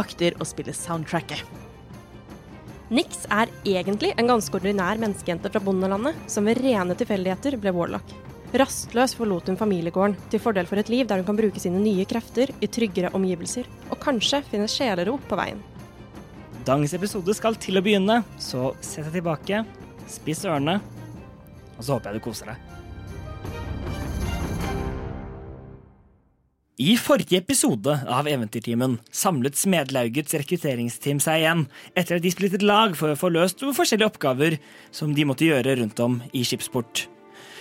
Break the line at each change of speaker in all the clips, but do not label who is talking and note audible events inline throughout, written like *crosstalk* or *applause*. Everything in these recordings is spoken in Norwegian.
akter å spille soundtracket.
Nix er egentlig en ganske ordinær menneskejente fra bondelandet, som ved rene tilfeldigheter ble warlock. Rastløs forlot hun familiegården, til fordel for et liv der hun kan bruke sine nye krefter i tryggere omgivelser, og kanskje finne sjelero på veien.
Dagens episode skal til å begynne, så sett deg tilbake, spiss ørene, og så håper jeg du koser deg. I forrige episode av Eventyrtimen samlet Smedlaugets rekrutteringsteam seg igjen etter at de splittet lag for å få løst forskjellige oppgaver som de måtte gjøre rundt om i skipsport.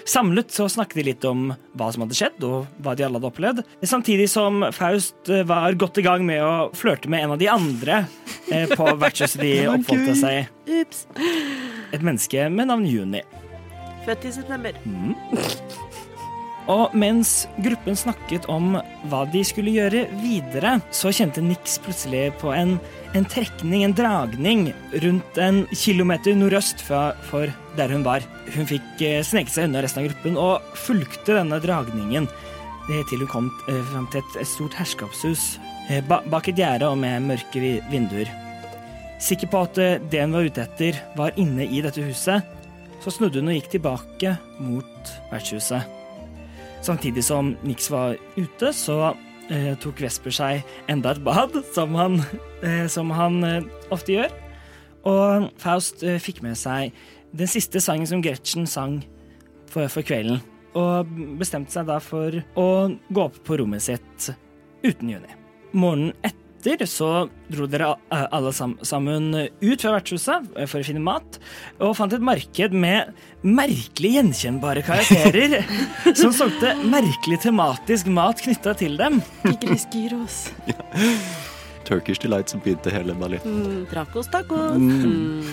Samlet så snakket de litt om hva som hadde skjedd, og hva de alle hadde opplevd, samtidig som Faust eh, var godt i gang med å flørte med en av de andre eh, på vertshuset de oppholdt seg i.
Ups.
Et menneske med navn Juni.
Født i september.
Og mens gruppen snakket om hva de skulle gjøre videre, så kjente Nix plutselig på en, en trekning, en dragning, rundt en kilometer nordøst fra, for der hun var. Hun fikk eh, sneket seg unna resten av gruppen og fulgte denne dragningen eh, til hun kom eh, fram til et, et stort herskapshus eh, ba, bak et gjerde og med mørke vi, vinduer. Sikker på at eh, det hun var ute etter, var inne i dette huset, så snudde hun og gikk tilbake mot vertshuset. Samtidig som Nix var ute, så eh, tok Vesper seg enda et bad, som han, eh, som han eh, ofte gjør. Og Faust eh, fikk med seg den siste sangen som Gretchen sang for, for kvelden, og bestemte seg da for å gå opp på rommet sitt uten Juni. Morgenen etter så dro dere eh, alle sam- sammen ut fra vertshuset eh, for å finne mat, og fant et marked med merkelig gjenkjennbare karakterer som solgte merkelig tematisk mat knytta til dem.
Gigris gyros.
Turkish Delight som begynte hele ballet.
Dracos tacos. Mm.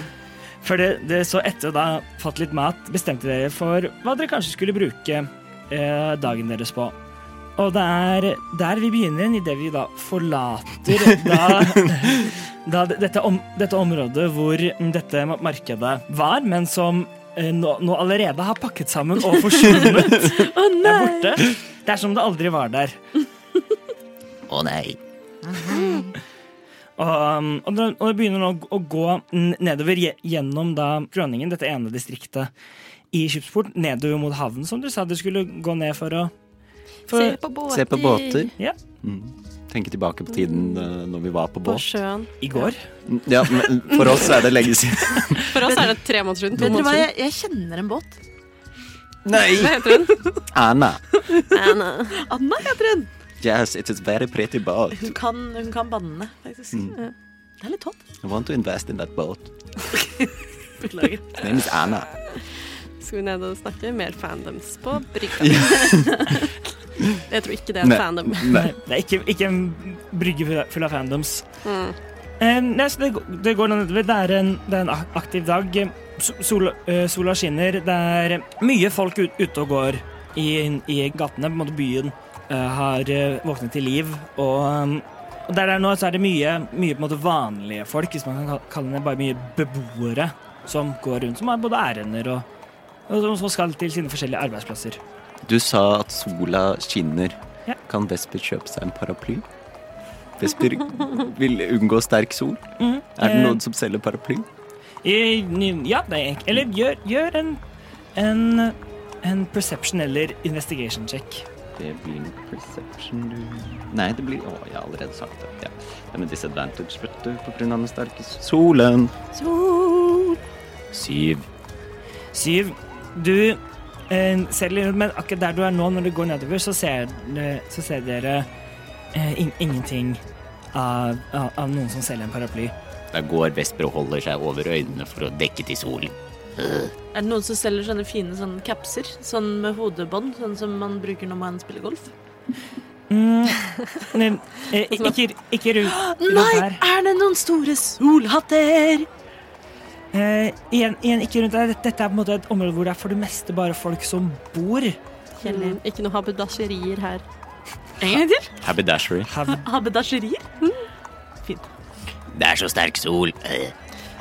For det, det så etter da fått litt mat, bestemte dere for hva dere kanskje skulle bruke eh, dagen deres på. Og det er der vi begynner igjen, idet vi da forlater da, da d- dette, om, dette området hvor dette markedet var, men som eh, nå, nå allerede har pakket sammen og forsvunnet.
Å
er
nei!
borte. Det er som det aldri var der.
Å nei.
Og, um, og, det, og det begynner nå å gå n- nedover gje- gjennom da Grønningen, dette ene distriktet i skipsport, nedover mot havnen, som du sa du skulle gå ned for å for,
på båter.
Se på båter.
Ja.
Mm. Tenke tilbake på tiden eh, når vi var på
På
båt.
sjøen.
I går.
Mm, Ja, men for oss er det lenge siden.
For oss er det tre måneder siden. To
Vet dere hva,
måneder siden.
jeg, jeg kjenner en båt.
Nei!
Hva
*laughs*
heter den?
Anna.
Anna heter hun.
Yes, it is very pretty boat.
Hun kan, hun kan banne, faktisk. Det er litt hot.
I want to invest in that boat.
Beklager.
Her name is Anna.
Skal vi ned og snakke mer fandoms på brygga? Jeg tror ikke det er en
Nei.
fandom.
Nei.
Det er ikke, ikke en brygge full av- full av fandoms. Eh, nei, så det, går- det går nå nedover. Det er en, det er en ak- aktiv dag. So- Sol, eh, sola skinner. Det er eh, mye folk ut, ute og går i, i gatene. På en måte byen eh, har eh, våknet til liv. Og, um, og der det er nå, så er det mye, mye på en måte vanlige folk, hvis man kan kal- kalle det bare mye beboere, som går rundt, som har både ærender og, og som- som skal til sine forskjellige arbeidsplasser.
Du sa at sola skinner.
Ja.
Kan Vesper kjøpe seg en paraply? Vesper vil unngå sterk sol. Er det
Eh,
noen som selger paraply?
I, ny- ja, nei, eller gjør, gjør en, en En perception eller investigation check.
Det blir en perception, du Nei, det blir Å, jeg har allerede sagt det. Ja. Det er med disadvantage, vet du, på grunn av den sterke solen.
Sol.
Syv.
Syv. Du eh, ser litt, men akkurat der du er nå, når du går nedover, så ser, eh, så ser dere eh, in ingenting av, av, av noen som selger en paraply.
Der går Vesper og holder seg over øynene for å dekke til solen.
Er det noen som selger sånne fine sånne capser? Sånn med hodebånd, sånn som man bruker når man spiller golf?
Mm, men, eh, ikke ikke ru- rundt her.
Er det noen store solhatter?
Eh, igjen, igjen, ikke rundt her. Dette- Dette er på en måte et område hvor det er for det meste bare folk som bor.
Kjellig.
Mm, ikke noe haberdasjerier her.
En gang til.
Haberdashery.
Hav,
Haberdasjerier.
Det er så sterk sol.
eh,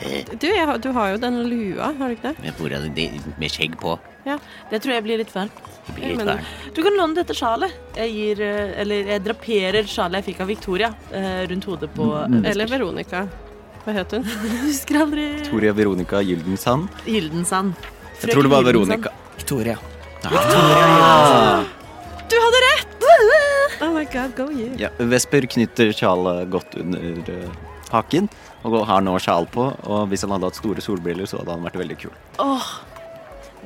Øh,
Du, jeg, har- du har jo den lua, har du ikke det?
Med, fora- de- med skjegg på.
Det tror jeg blir litt varmt.
Det blir litt
Men-
varmt.
Du kan låne dette sjalet. Jeg gir eh, Eller jeg draperer sjalet jeg fikk av Victoria eh, rundt hodet på
Eller Veronica. Hva het hun?
Jeg husker aldri
Toria Veronica Gyldensand.
Gyldensand.
Jeg tror det var
Frøken
Veronica.
Victoria.
Du hadde rett! Oh my god, go you.
Ja, Vesper knytter sjalet godt under eh, haken og går- har nå sjal på. Og hvis han hadde hatt store solbriller, så hadde han vært veldig kul.
Gyldensand.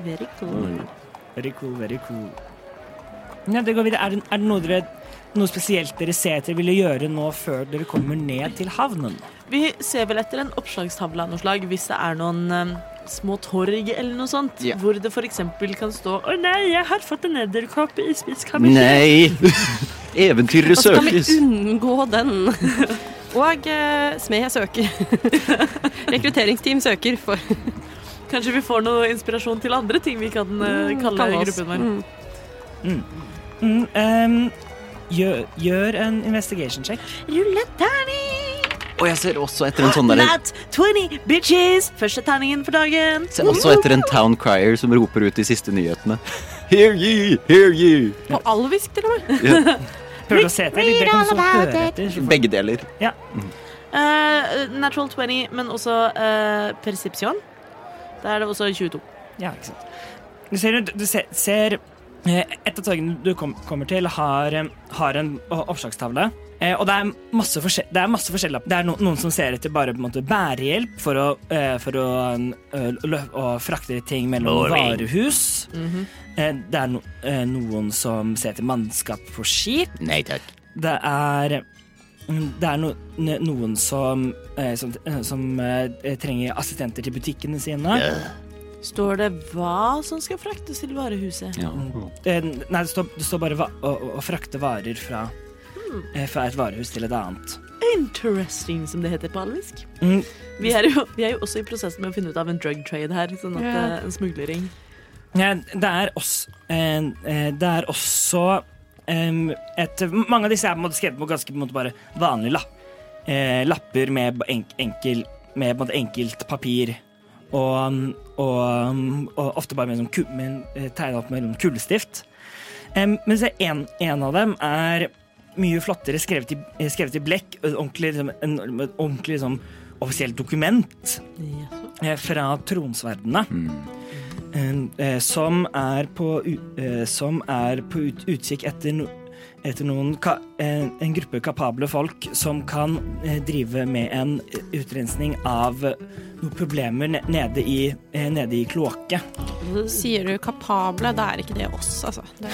Very cool.
Very cool, very cool. Ja, det går videre. Er det, er det noe, dere, noe spesielt dere ser etter ville gjøre nå før dere kommer ned til havnen?
Vi ser vel etter en oppslagstavle av noe slag hvis det er noen eh, små torg eller noe sånt,
Ja.
hvor det f.eks. kan stå 'Å nei, jeg har fått en edderkopp i spiskammerset'.
Nei! *laughs* Eventyret
Og så Altså, kan vi
søkes!
unngå den. *laughs* Og eh, smed *laughs* søker. Rekrutteringsteam søker for
Kanskje vi får noe inspirasjon til andre ting vi kan eh, kalle
kalle oss.
gruppen vår.
Mm.
Mm, ehm, gjør, gjør en investigation check.
Rulle terning!
Og jeg ser også etter en sånn derre
Nat 20, bitches! Første terningen for dagen.
Ser også etter en town crier som roper ut de siste nyhetene. Hear ye, hear ye!
På alvisk, til og med.
Prøv å se etter. Det kan så høre etter. så får-
Begge deler.
Eh, natural 20, men også eh, persepsjon. Da er det også 22.
Ja, ikke sant. Du ser, rundt- du ser, ser eh, et av torgene du kom, kommer til, har, eh, har en o- oppslagstavle. Eh, og det er masse forskjell. Det er, masse forskjell. Det er no, noen som ser etter bare på en måte bærehjelp for å, eh, for å, eh, lø- å frakte ting mellom
Boring.
varehus.
Mhm.
Eh, det er no, eh, noen som ser etter mannskap på skip.
Nei takk.
Det er det er no, n- noen som, eh, som, eh, som eh, trenger assistenter til butikkene sine.
Står det hva som skal fraktes til varehuset?
Ja.
Eh, Nei, det står, det står bare va å, å, å frakte varer fra, eh, fra et varehus til et annet.
Interesting, som det heter på alvisk.
Mm,
Vi er, jo, vi er jo også i prosessen med å finne ut av en drug trade her. Sånn at
Ja.
eh, En smuglering.
ja, det er også, eh, eh, det er også em, et Mange av disse er på en måte skrevet på ganske på en måte bare vanlige lapp, eh, lapper med, ba- enk, enkel, med på en måte enkelt papir. Og, og, og ofte bare med sånn ku- med, eh, tegnet opp med sånn kullestift. Um, men se, en, en av dem er mye flottere skrevet i, eh, skrevet i blekk. et Ordentlig, liksom, en, et ordentlig liksom, offisielt dokument eh, fra tronsverdene. Um, eh, som er på, u- eh, som er på ut, utkikk etter, no, etter noen ka, en, en gruppe kapable folk som kan eh, drive med en eh, utrensning av eh, noen problemer ne- nede i, eh, nede i kloakket.
Sier du kapable, da er ikke det oss, altså. Det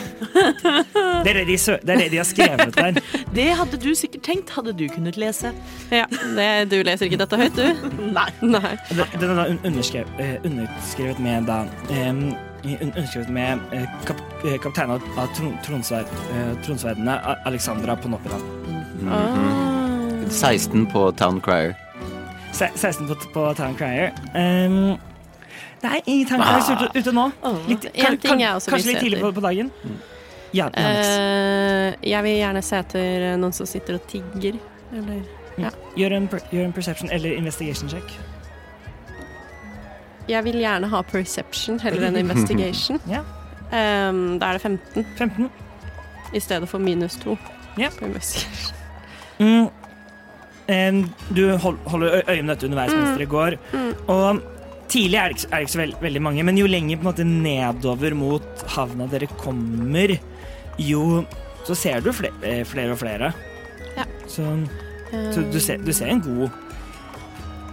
Det er det de, sø det er det de har skrevet der.
Det hadde du sikkert tenkt, hadde du kunnet lese.
ja, det, du leser ikke dette
*laughs*
høyt, du?
Nei.
Nei.
Den den er da un- underskrevet, eh, underskrevet med da em, un- Underskrevet med eh, kap, eh, kapteinen av- av tron, tronsverd, eh, tronsverdene A- Alexandra Ponopera.
Ah.
Mm-hmm. 16 på town crier.
Se, 16 på, på Town Crier. Ehm, Em, det er ingen Town Criers ute, ute nå. Litt,
En ting jeg også vil
kanskje litt
se
tidlig på,
etter.
på dagen. Ja, Alex.
Eh, jeg vil gjerne se etter noen som sitter og tigger. Eller
Gjør en, per- gjør en perception eller investigation check.
Jeg vil gjerne ha perception heller enn investigation.
*laughs* Ja.
Ehm, da er det 15
15.
i stedet for minus 2.
Ja.
på investigation.
Mm. Em, du hold, holder ø- øye med dette underveis
Mm.
mens dere går. Og tidlig er det ikke, så- er det ikke så veld, veldig mange, men jo lenger på en måte nedover mot havna dere kommer, Jo, så ser du fle- eh, flere og flere.
Ja.
Så, så du, ser, du ser en god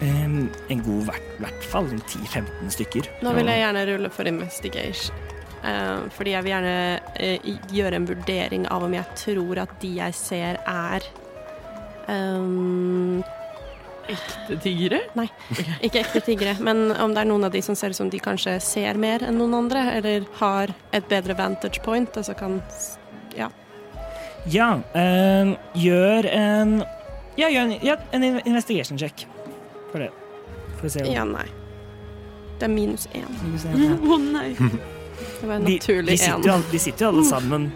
em, En god hvert, hvert fall 10-15 stykker.
Nå vil jeg gjerne rulle for investigation. Eh, fordi jeg vil gjerne eh, gjøre en vurdering av om jeg tror at de jeg ser, er ehm,
Ekte tiggere?
Ikke ekte tiggere, men om det er noen av de som ser ut som de kanskje ser mer enn noen andre, eller har et bedre vantage point, altså kan s- Ja.
Ja, em, gjør en Ja, gjør en, ja, en in- investigation check for det. For å se om
Ja, nei. Det er minus én.
skal vi se om
*laughs*
det-
Å nei.
Det var en Mm.
de, de,
naturlig
sitter
én.
jo, al- de sitter jo alle sammen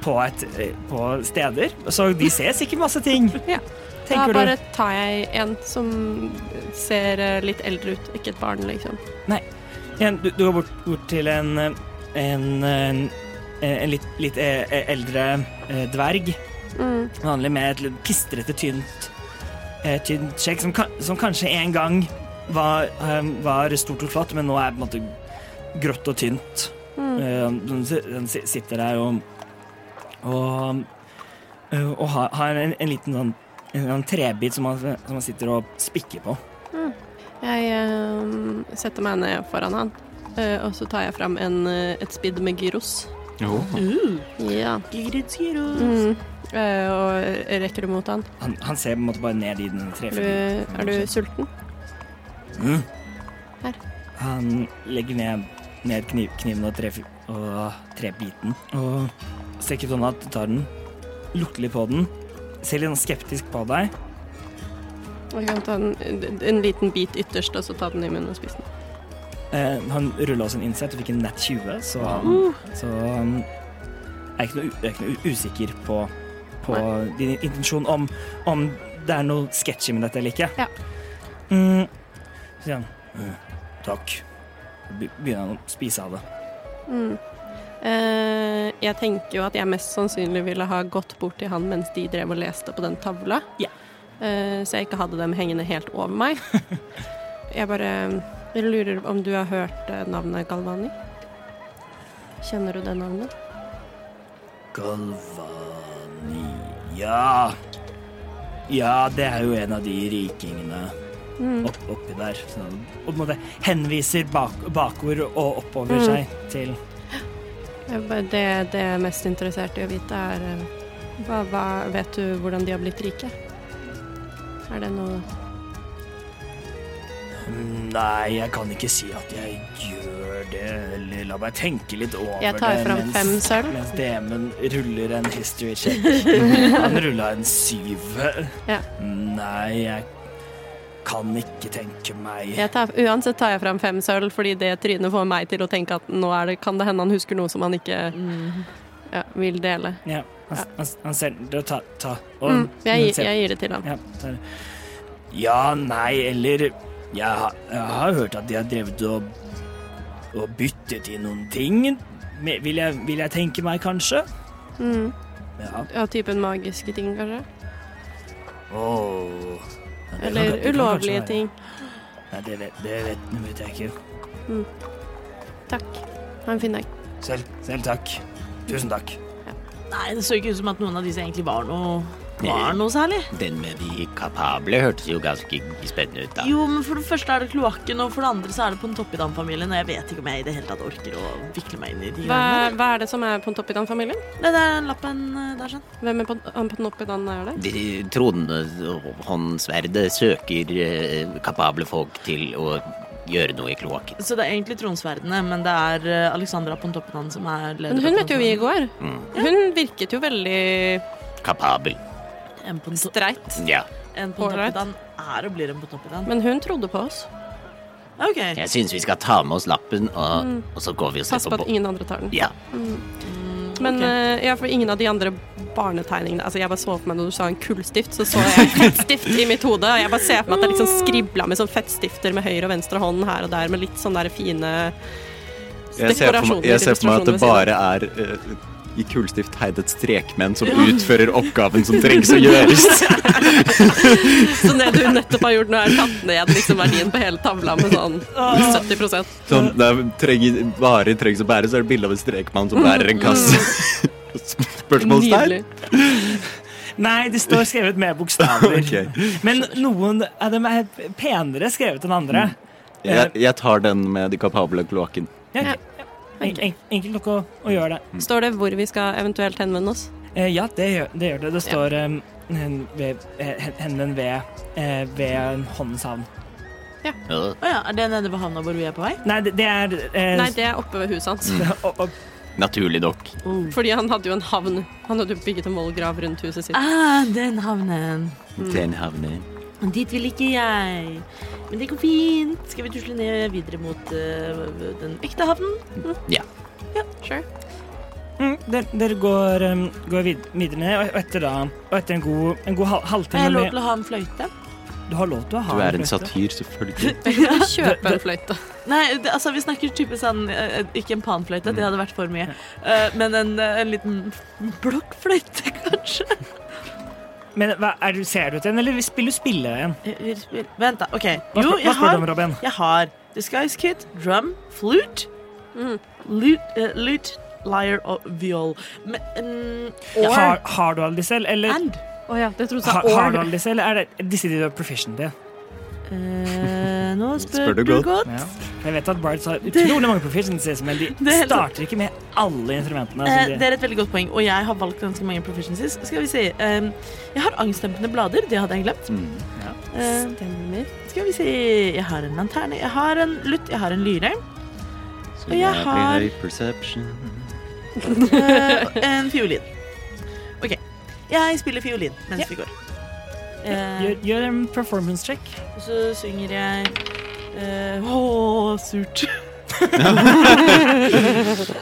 på, et, eh, på steder, så de ser sikkert masse ting.
Mm. *laughs* Ja. Da
Tenker
bare
du?
tar jeg en som ser eh, litt eldre ut, ikke et barn, liksom.
En, du, du går bort, bort til en, eh, en, eh, en, en litt, litt eh, eh, eldre eh, dverg,
Mm.
vanlig med et litt pistrete, tynt, eh, tynt skjegg, som, kan- som kanskje en gang var, eh, var stort og flott, men nå er på en måte grått og tynt.
Mm.
Eh, Den si- den si- sitter der og Og, eh, og har, har en, en liten sånn en sånn trebit som han, som han sitter og spikker på.
Jeg eh, setter meg ned foran han, eh, og så tar jeg fram en, eh, et spidd med gyros.
Uh,
Ja.
Gyros, gyros.
Mm. Eh, og rekker det mot han.
Han, han ser på en måte bare ned i den
Er du, er du
trefilmen.
sulten?
Mm.
Her.
Han legger ned, ned kniv, kniven og, tre, og trebiten og strekker ut hånda, tar den, lukter litt på den, ser litt sånn skeptisk på deg.
Jeg kan ta en, en liten bit ytterst, og så ta den i munnen og spise den.
Eh, han rulla også en innsett og fikk en nett 20, så han,
Uh.
så han er ikke noe, u- er ikke noe u- usikker på, på din intensjon om, om det er noe sketchy med dette eller ikke.
Ja.
Mm, så sier han «Eh, takk. Så be- Begynner han å spise av det.
Mm. Eh, jeg tenker jo at jeg mest sannsynlig ville ha gått bort til han mens de drev og leste på den tavla.
Ja.
Eh, så jeg ikke hadde dem hengende helt over meg. jeg bare jeg lurer om du har hørt eh, navnet Galvani? Kjenner du det navnet?
Galvania Ja, det er jo en av de rikingene
Mm.
opp, oppi der. Så han og på en måte henviser bak, bakord og oppover
Mm.
seg til
Jeg bare, det, det jeg er mest interessert i å vite, er eh, hva, hva, Vet du hvordan de har blitt rike? Er det noe
Nei, jeg kan ikke si at jeg gjør det, eller la meg tenke litt over det.
Jeg tar fram fem sølv.
Mens DM-en ruller en history
*laughs*
check. Han rulla en syv.
Ja.
Nei, jeg kan ikke tenke meg
Jeg tar, uansett tar jeg fram fem sølv, fordi det trynet får meg til å tenke at nå er det, kan det hende han husker noe som han ikke ja, vil dele.
Ja, han, han, han ser den. Ta, ta. Og,
Mm, jeg,
ser-
gir- jeg gir det til han.
Ja, ta det. ja, nei, eller jeg, har- jeg har hørt at de har drevet og, og byttet i noen ting, Me- vil jeg, vil jeg tenke meg, kanskje.
Mm,
Ja.
av typen magiske ting, kanskje?
Åh. Ja, det kan-
Eller
det kan kanskje
ulovlige
være.
ting.
Nei, det vet, det vet, det vet jeg ikke.
Takk. Ha en fin dag.
Selv, selv takk. Tusen takk.
Nei, det så ikke ut som at noen av disse egentlig var noe var noe særlig.
Den med de kapable hørtes jo ganske spennende ut,
Jo, men for det første er det kloakken, og for det andre så er det på en Toppidam-familien, og jeg vet ikke om jeg i det hele tatt orker å vikle meg inn i de
Hva,
greiene.
hva er det som er Pontoppidan-familien?
Nei, det er lappen eh, der, sånn.
Hvem er Pont- han Pontoppidan er det?
De tronhåndsverdet søker eh, kapable folk til å gjøre noe i kloakken.
Så det er egentlig tronsverdene, men det er eh, Alexandra på Toppidam som er leder.
Men hun
av
møtte jo vi i går.
Mm.
Hun virket jo veldig
Kapabel.
En på en
streit.
Ja.
på
Ålreit.
Toppidam er og blir en på Toppidam.
Men hun trodde på oss.
OK.
Jeg syns vi skal ta med oss lappen, og, og så går vi og ser
Mm. Pass på
på
at
båten.
ingen andre tar den.
Ja.
Men eh, ja, for ingen av de andre barnetegningene Altså Jeg bare så for meg når du sa en kullstift, så så jeg fettstift i mitt hode. Og jeg bare ser for meg at det liksom skribla med sånn fettstifter med høyre og venstre hånd her og der, med litt sånne der fine
Jeg ser, for meg,
dekorasjoner,
jeg ser for meg at
illustrasjoner ved
det
siden av.
bare er eh, i kullstift heidet strekmenn som utfører oppgaven som trengs å
*laughs*
gjøres.
*laughs* Så det du nettopp har gjort nå, er tatt ned liksom verdien på hele tavla med sånn 70
Mm, *laughs*
Sånn, det er trenger, varer trengs å bære, så er det bilde av en strekmann som bærer en kasse. Spørsmålstegn?
Nei, de står skrevet med *laughs* bokstaver.
Ok.
Men noen av dem er penere skrevet enn andre.
Jeg, jeg tar den med de kapable kloakken.
Ja, en, en, enkelt nok å, å gjøre det.
Står det hvor vi skal eventuelt henvende oss?
Eh, ja, det gjør det. Gjør det. det står eh, hen- ved- eh, hen- henvend ved, eh, ved håndens havn.
Å ja, er det nede ved havna hvor vi er på vei?
Nei, det, det er eh,
Nei, det er oppe ved huset hans.
Mm.
*laughs* opp- opp-
Naturlig nok.
Oh,
Fordi han hadde jo en havn. Han hadde jo bygget en vollgrav rundt huset sitt.
Ah, den havnen.
Den havner
Dit vil ikke jeg. Men det går fint. Skal vi tusle ned videre mot eh, den ekte havnen?
Sure.
Mm, dere, dere går, um, går vid videre ned, og etter, da, og etter en god, en god hal
Har
halvtime
jeg lov
med-
til å ha en fløyte?
Du har lov til å ha
Du er en
fløyte.
satyr,
*laughs*
selvfølgelig.
Jeg kan ikke kjøpe en fløyte.
Nei, det, altså vi snakker type sånn eh, Ikke en panfløyte,
Mm.
det hadde vært for mye. Eh, men en, eh, en liten blokkfløyte, *laughs* kanskje.
Men hva, er du, ser du etter en, eller spiller du spille igjen?
Eh,
Vent, da. OK.
Hva, spør-
Jo,
hva
jeg
spør du
har,
om, Robin?
jeg har disguise kit, drum, flute,
Mm.
lute, eh, lute lyre og viol. Men, mm, or
Har, har du alle disse, eller, eller,
and.
Å ja, det trodde
har,
jeg
har du
sa år.
alle disse, eller er det disse de du er proficient i?
Eh,
*laughs*
nå spør,
Spør du
du
godt.
godt.
Ja. Jeg vet at Bards har utrolig mange proficiencies, men de
Det er-
starter ikke med alle instrumentene.
Eh,
Som
det
de,
er et veldig godt poeng, og jeg har valgt ganske mange proficiencies. Skal vi se. eh, jeg har angstdempende blader, det hadde jeg glemt.
Mm.
Eh,
Stemmer.
skal vi se. Jeg har en lanterne, jeg har en lutt, jeg har en lyre.
Så
Og jeg har-
blir høy perception.
*laughs*
eh, og en fiolin. OK. Jeg spiller fiolin mens vi går. Eh,
gjør, gjør en performance check.
og så synger jeg eh, Åh,
*laughs*
surt.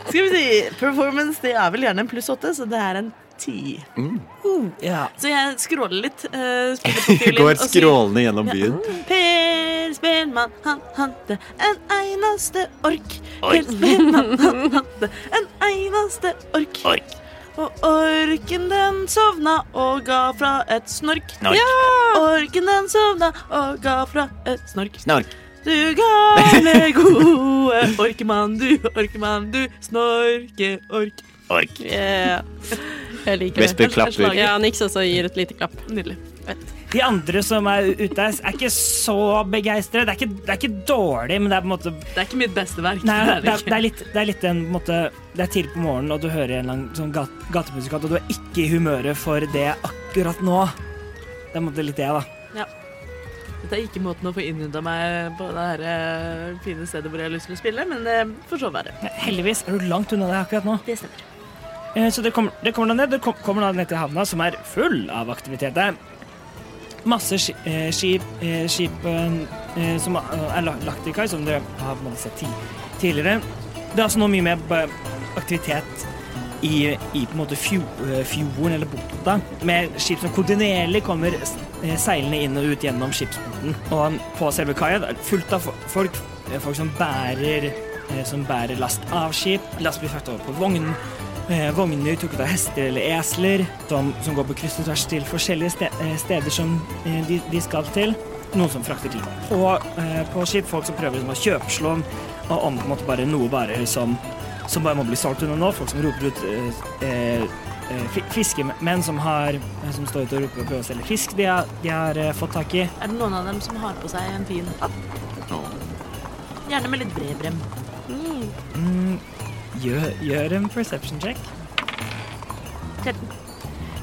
skal vi si Performance det er vel gjerne en pluss åtte, så det er en ti.
Uh, Ja.
Så jeg skråler litt. eh, spiller på
*laughs* Jeg
fiolin
går
og sier-
skrålende gjennom byen.
Per Spelmann, han hadde en eneste ork. Per Spelmann, han hadde en eneste ork. Og orken den sovna og ga fra et snork.
Snork.
Orken den sovna og ga fra et snork.
Snork.
Du gamle, gode orkemann, du orkemann, du snorke-ork.
Ork.
Yeah.
Jeg liker det.
Vesper klapper.
Ja, Nix også gir et lite klapp.
Nydelig.
De andre som er ute, er ikke så begeistret. Det, er ikke- det er ikke dårlig, men det er på en måte
Det er ikke mitt beste verk.
Nei, det,
det
er, det, er litt, det er litt en på en måte Det er tidlig på morgenen, og du hører en eller annen sånn gat, gatemusikant, og du er ikke i humøret for det akkurat nå. Det er på en måte litt det, da.
Dette er ikke måten å få innynda meg på det her eh, fine stedet hvor jeg har lyst til å spille, men det får så være.
Heldigvis er du langt unna det akkurat nå.
Det stemmer.
Eh, Så det kommer, det kommer da ned. Det kom, kommer da ned til havna, som er full av aktivitet. Det er masse ski- eh, skip, eh, skip eh, eh, som eh, er la- lagt i kai, som dere har på en måte sett ti- tidligere. Det er altså nå mye mer eh, aktivitet i, i på en måte fjo, eh, fjorden, eller bukta, med skip som kontinuerlig kommer s- eh, seilende inn og ut gjennom skipsporten. Og på selve kaia det er fullt av fo- folk, eh, folk som bærer eh, som bærer last av skip. Last blir fraktet over på vogn, eh, vogner trukket av hester eller esler, som, som går på kryss og tvers til forskjellige ste, eh, steder som eh, de, de skal til. Noen som frakter klima. Og eh, på skip folk som prøver liksom, å kjøpslå og om på en måte bare noe varer som, som bare må bli solgt unna nå. Folk som roper ut eh, eh, eh, fi- fiskemenn som, har, eh, som står ute og roper og prøver å selge fisk de har, de har eh, fått tak i.
Er det noen av dem som har på seg en fin hatt? Gjerne med litt bred brem.
Mm, gjør, gjør en perception check.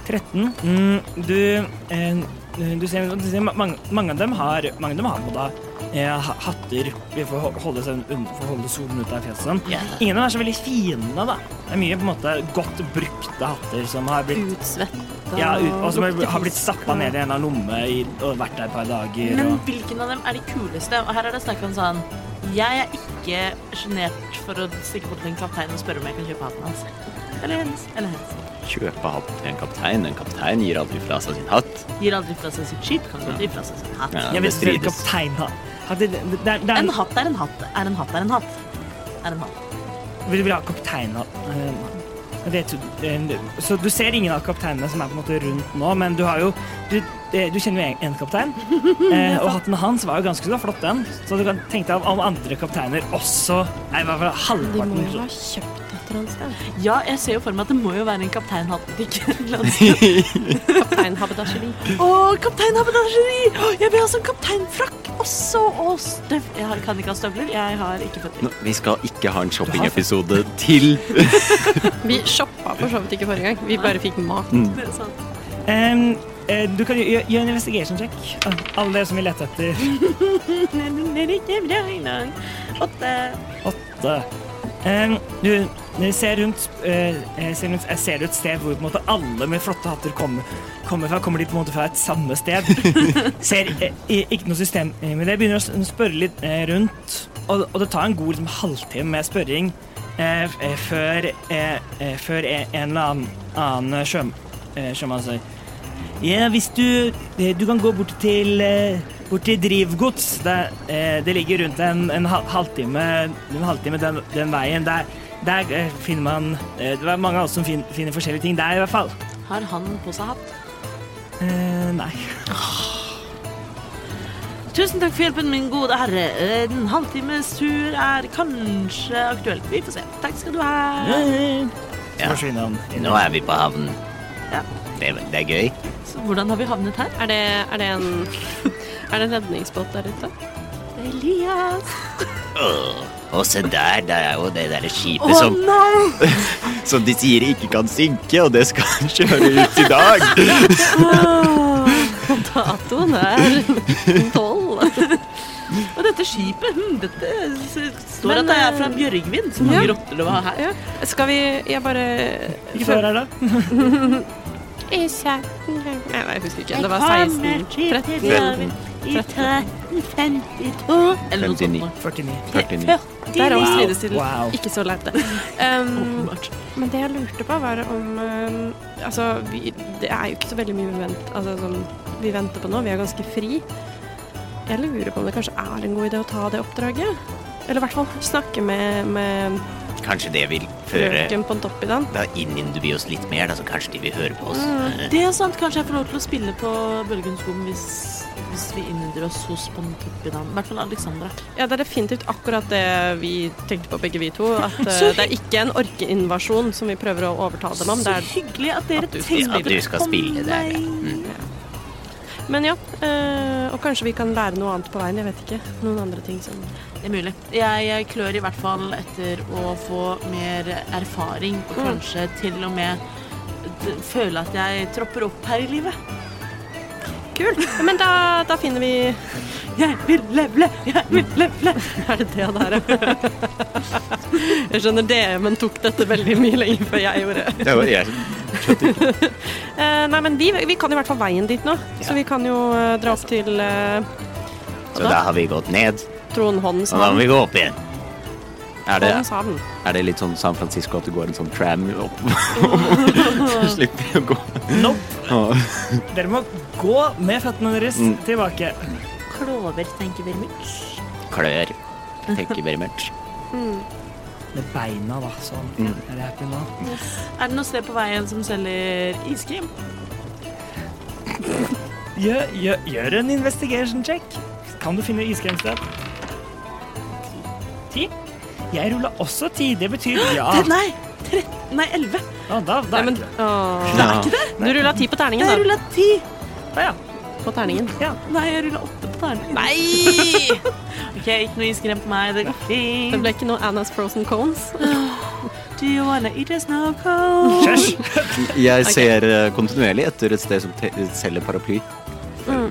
13. Mm, du, eh, du ser, du ser ma- mange, mange av dem har, mange av dem har på da, eh, ha- hatter for å ho- holde, seg unna, for å holde solen ute av fjeset. sånn. Ingen av dem er så veldig fine, da. Det er mye på en måte godt brukte hatter som har blitt
Utsvetta
ja, ut, og som er- har blitt stappa ned i en eller annen lomme i, og vært der et par dager.
Men
Og,
hvilken av dem er de kuleste? Og her er det snakk om sånn Jeg er ikke sjenert for å stikke bort til en kaptein og spørre om jeg kan kjøpe hatten hans. Eller hennes. Eller hennes.
Kjøpe hatt til en kaptein. En kaptein gir aldri fra seg sin hatt.
Gir aldri fra seg sitt skip, kan godt gi fra seg sin hatt.
Ja,
jeg vet
det
ikke
strides.
kaptein har hadde- det- det- det er- det er-
En hatt er en hatt. Er en hatt er en hatt. Er en hatt.
Vil du ha kapteiner? Eh, Det, tror- eh, så du ser ingen av kapteinene som er på en måte rundt nå, men du har jo Du, eh, du kjenner jo en- en kaptein, eh, og hatten hans var jo ganske så flott, den. Så du kan tenke deg om andre kapteiner også er i hvert fall
De må jo
halvparten
ha kjøpt et
et eller annet sted.
Ja, jeg ser jo for meg at det må jo være en Kaptein Hatt-butikk.
Kaptein Haberdasheri.
Å, Kaptein Haberdasheri! Å, Jeg vil ha sånn kapteinfrakk også! Og støv... Jeg har- kan ikke ha støvler. Jeg har ikke føtter.
Nå, vi skal ikke ha en shoppingepisode til. *laughs*
Vi shoppa for så vidt ikke forrige gang. Vi bare fikk mat.
Det er sant.
Em, eh, du kan jo gjø- gjøre en investigation check. Ah, Alle dere som vil lete etter
Det er ikke bra i dag. Åtte.
åtte. Em, du du ser rundt, eh, eh, ser rundt Jeg ser du et sted hvor på en måte alle med flotte hatter kommer, kommer fra? Kommer de på en måte fra et samme sted? ser eh, i- ikke noe system eh, med det. Begynner å s- spørre litt eh, rundt. Og, og det tar en god liksom, halvtime med spørring eh, f- eh, før, eh, eh, før en en eller annen, annen sjø, eh, sjømann sier Ja, hvis du eh, Du kan gå bort til eh, Bort til drivgods. Det, eh, det ligger rundt en, en hal- halvtime, en halvtime den, den veien. Der, der eh, finner man eh, Det er mange av oss som fin, finner forskjellige ting der, i hvert fall.
Har han på seg hatt?
Eh, nei.
Tusen takk for hjelpen, min gode herre. En halvtimes tur er kanskje aktuelt. Vi får se. Takk skal du ha.
Eh,
Ja.
Så forsvinner han. inn.
Nå er vi på havnen.
Ja.
Det, er- det er gøy.
Så hvordan har vi havnet her?
Er det, er det en Er det en redningsbåt der ute?
Elias.
Og se der, det er jo det derre skipet
Å
som,
nei!
*laughs*
som de sier ikke kan synke, og det skal kjøre ut i dag.
Datoen er tolv.
Og dette skipet, hm, dette s- står
Men,
at det er
eh,
fra Bjørgvin. Så mange
ja.
rotter det var her.
Ja. Skal vi Jeg bare
Ikke før her, da?
Ikke Nei, jeg husker ikke. Det var 16. 13.
I 1352 Eller noe sånt.
59.
nå.
49.
49.
Det er også sidestilt.
Wow.
Ikke så
*laughs*
leit, det. Um,
Åpenbart.
men det jeg lurte på, var om um, Altså, vi, det er jo ikke så veldig mye vi vent, altså, som vi venter på nå. Vi er ganske fri. Jeg lurer på om det kanskje er en god idé å ta det oppdraget? Eller i hvert fall snakke med, med
Kanskje det vil føre
frøken på Toppidan.
Da innhenter vi oss litt mer, da, så kanskje de vil høre på oss.
Mm.
Det er sant. Kanskje jeg får lov til å spille på Bølgenskogen hvis, hvis vi innhenter oss hos Pontoppidan. I hvert fall Alexandra.
Ja, det er definitivt akkurat det vi tenkte på, begge vi to.
*laughs*
At uh,
Så hy-
det er ikke en orkeinvasjon som vi prøver å overtale dem om. Det er,
Så hyggelig at dere
at du-
tenker
at du skal
på
spille der, ja.
meg.
men ja. Uh, og kanskje vi kan lære noe annet på veien. Jeg vet ikke. Noen andre ting som
Det er mulig. Jeg, jeg klør i hvert fall etter å få mer erfaring, og
Mm.
kanskje til og med d- føle at jeg tropper opp her i livet.
Kult. Ja, men da, da finner vi
Jeg vil levle, jeg vil levle.
Er det det der? jeg skjønner det, men tok dette veldig mye lenger før jeg gjorde.
Det var jeg.
Eh, nei, men vi, vi kan i hvert fall veien dit nå.
Ja.
Så vi kan jo eh, dra opp til uh,
Så da har vi gått ned,
Trondhåndens
og da må
havn.
vi gå opp igjen.
Er det,
Håndens havn.
er det litt sånn San Francisco at det går en sånn tram *laughs* opp? Slipper å gå.
Nope.
Å.
Dere må gå med føttene deres
Mm.
tilbake.
Klover, tenker vi mye.
Klør. Tenker very much.
Med beina, da. Sånn.
Mm.
Er det happy nå?
Er det noe sted på veien som selger iskrem?
Gjør, gjør, gjør en investigation check. Kan du finne iskremsted? Ti? Jeg rulla også ti. Det betyr ja.
Tre- Nei, tre, nei, elleve.
Ja, da, da
Nei,
er
men,
det det.
åh.
Det er
ikke
det?
Du rulla ti på terningen,
Jeg
da.
rulla ti.
Å, ja.
På terningen.
ja.
Nei, jeg rulla åtte på terningen.
Nei!
*laughs* Ok, ikke noe iskrem på meg. Det går
Det
fint.
ble ikke noe Annas frozen cones.
Do you wanna eat a snow cone?
Kjørs.
Jeg ser eh, kontinuerlig etter et sted som te- selger paraply.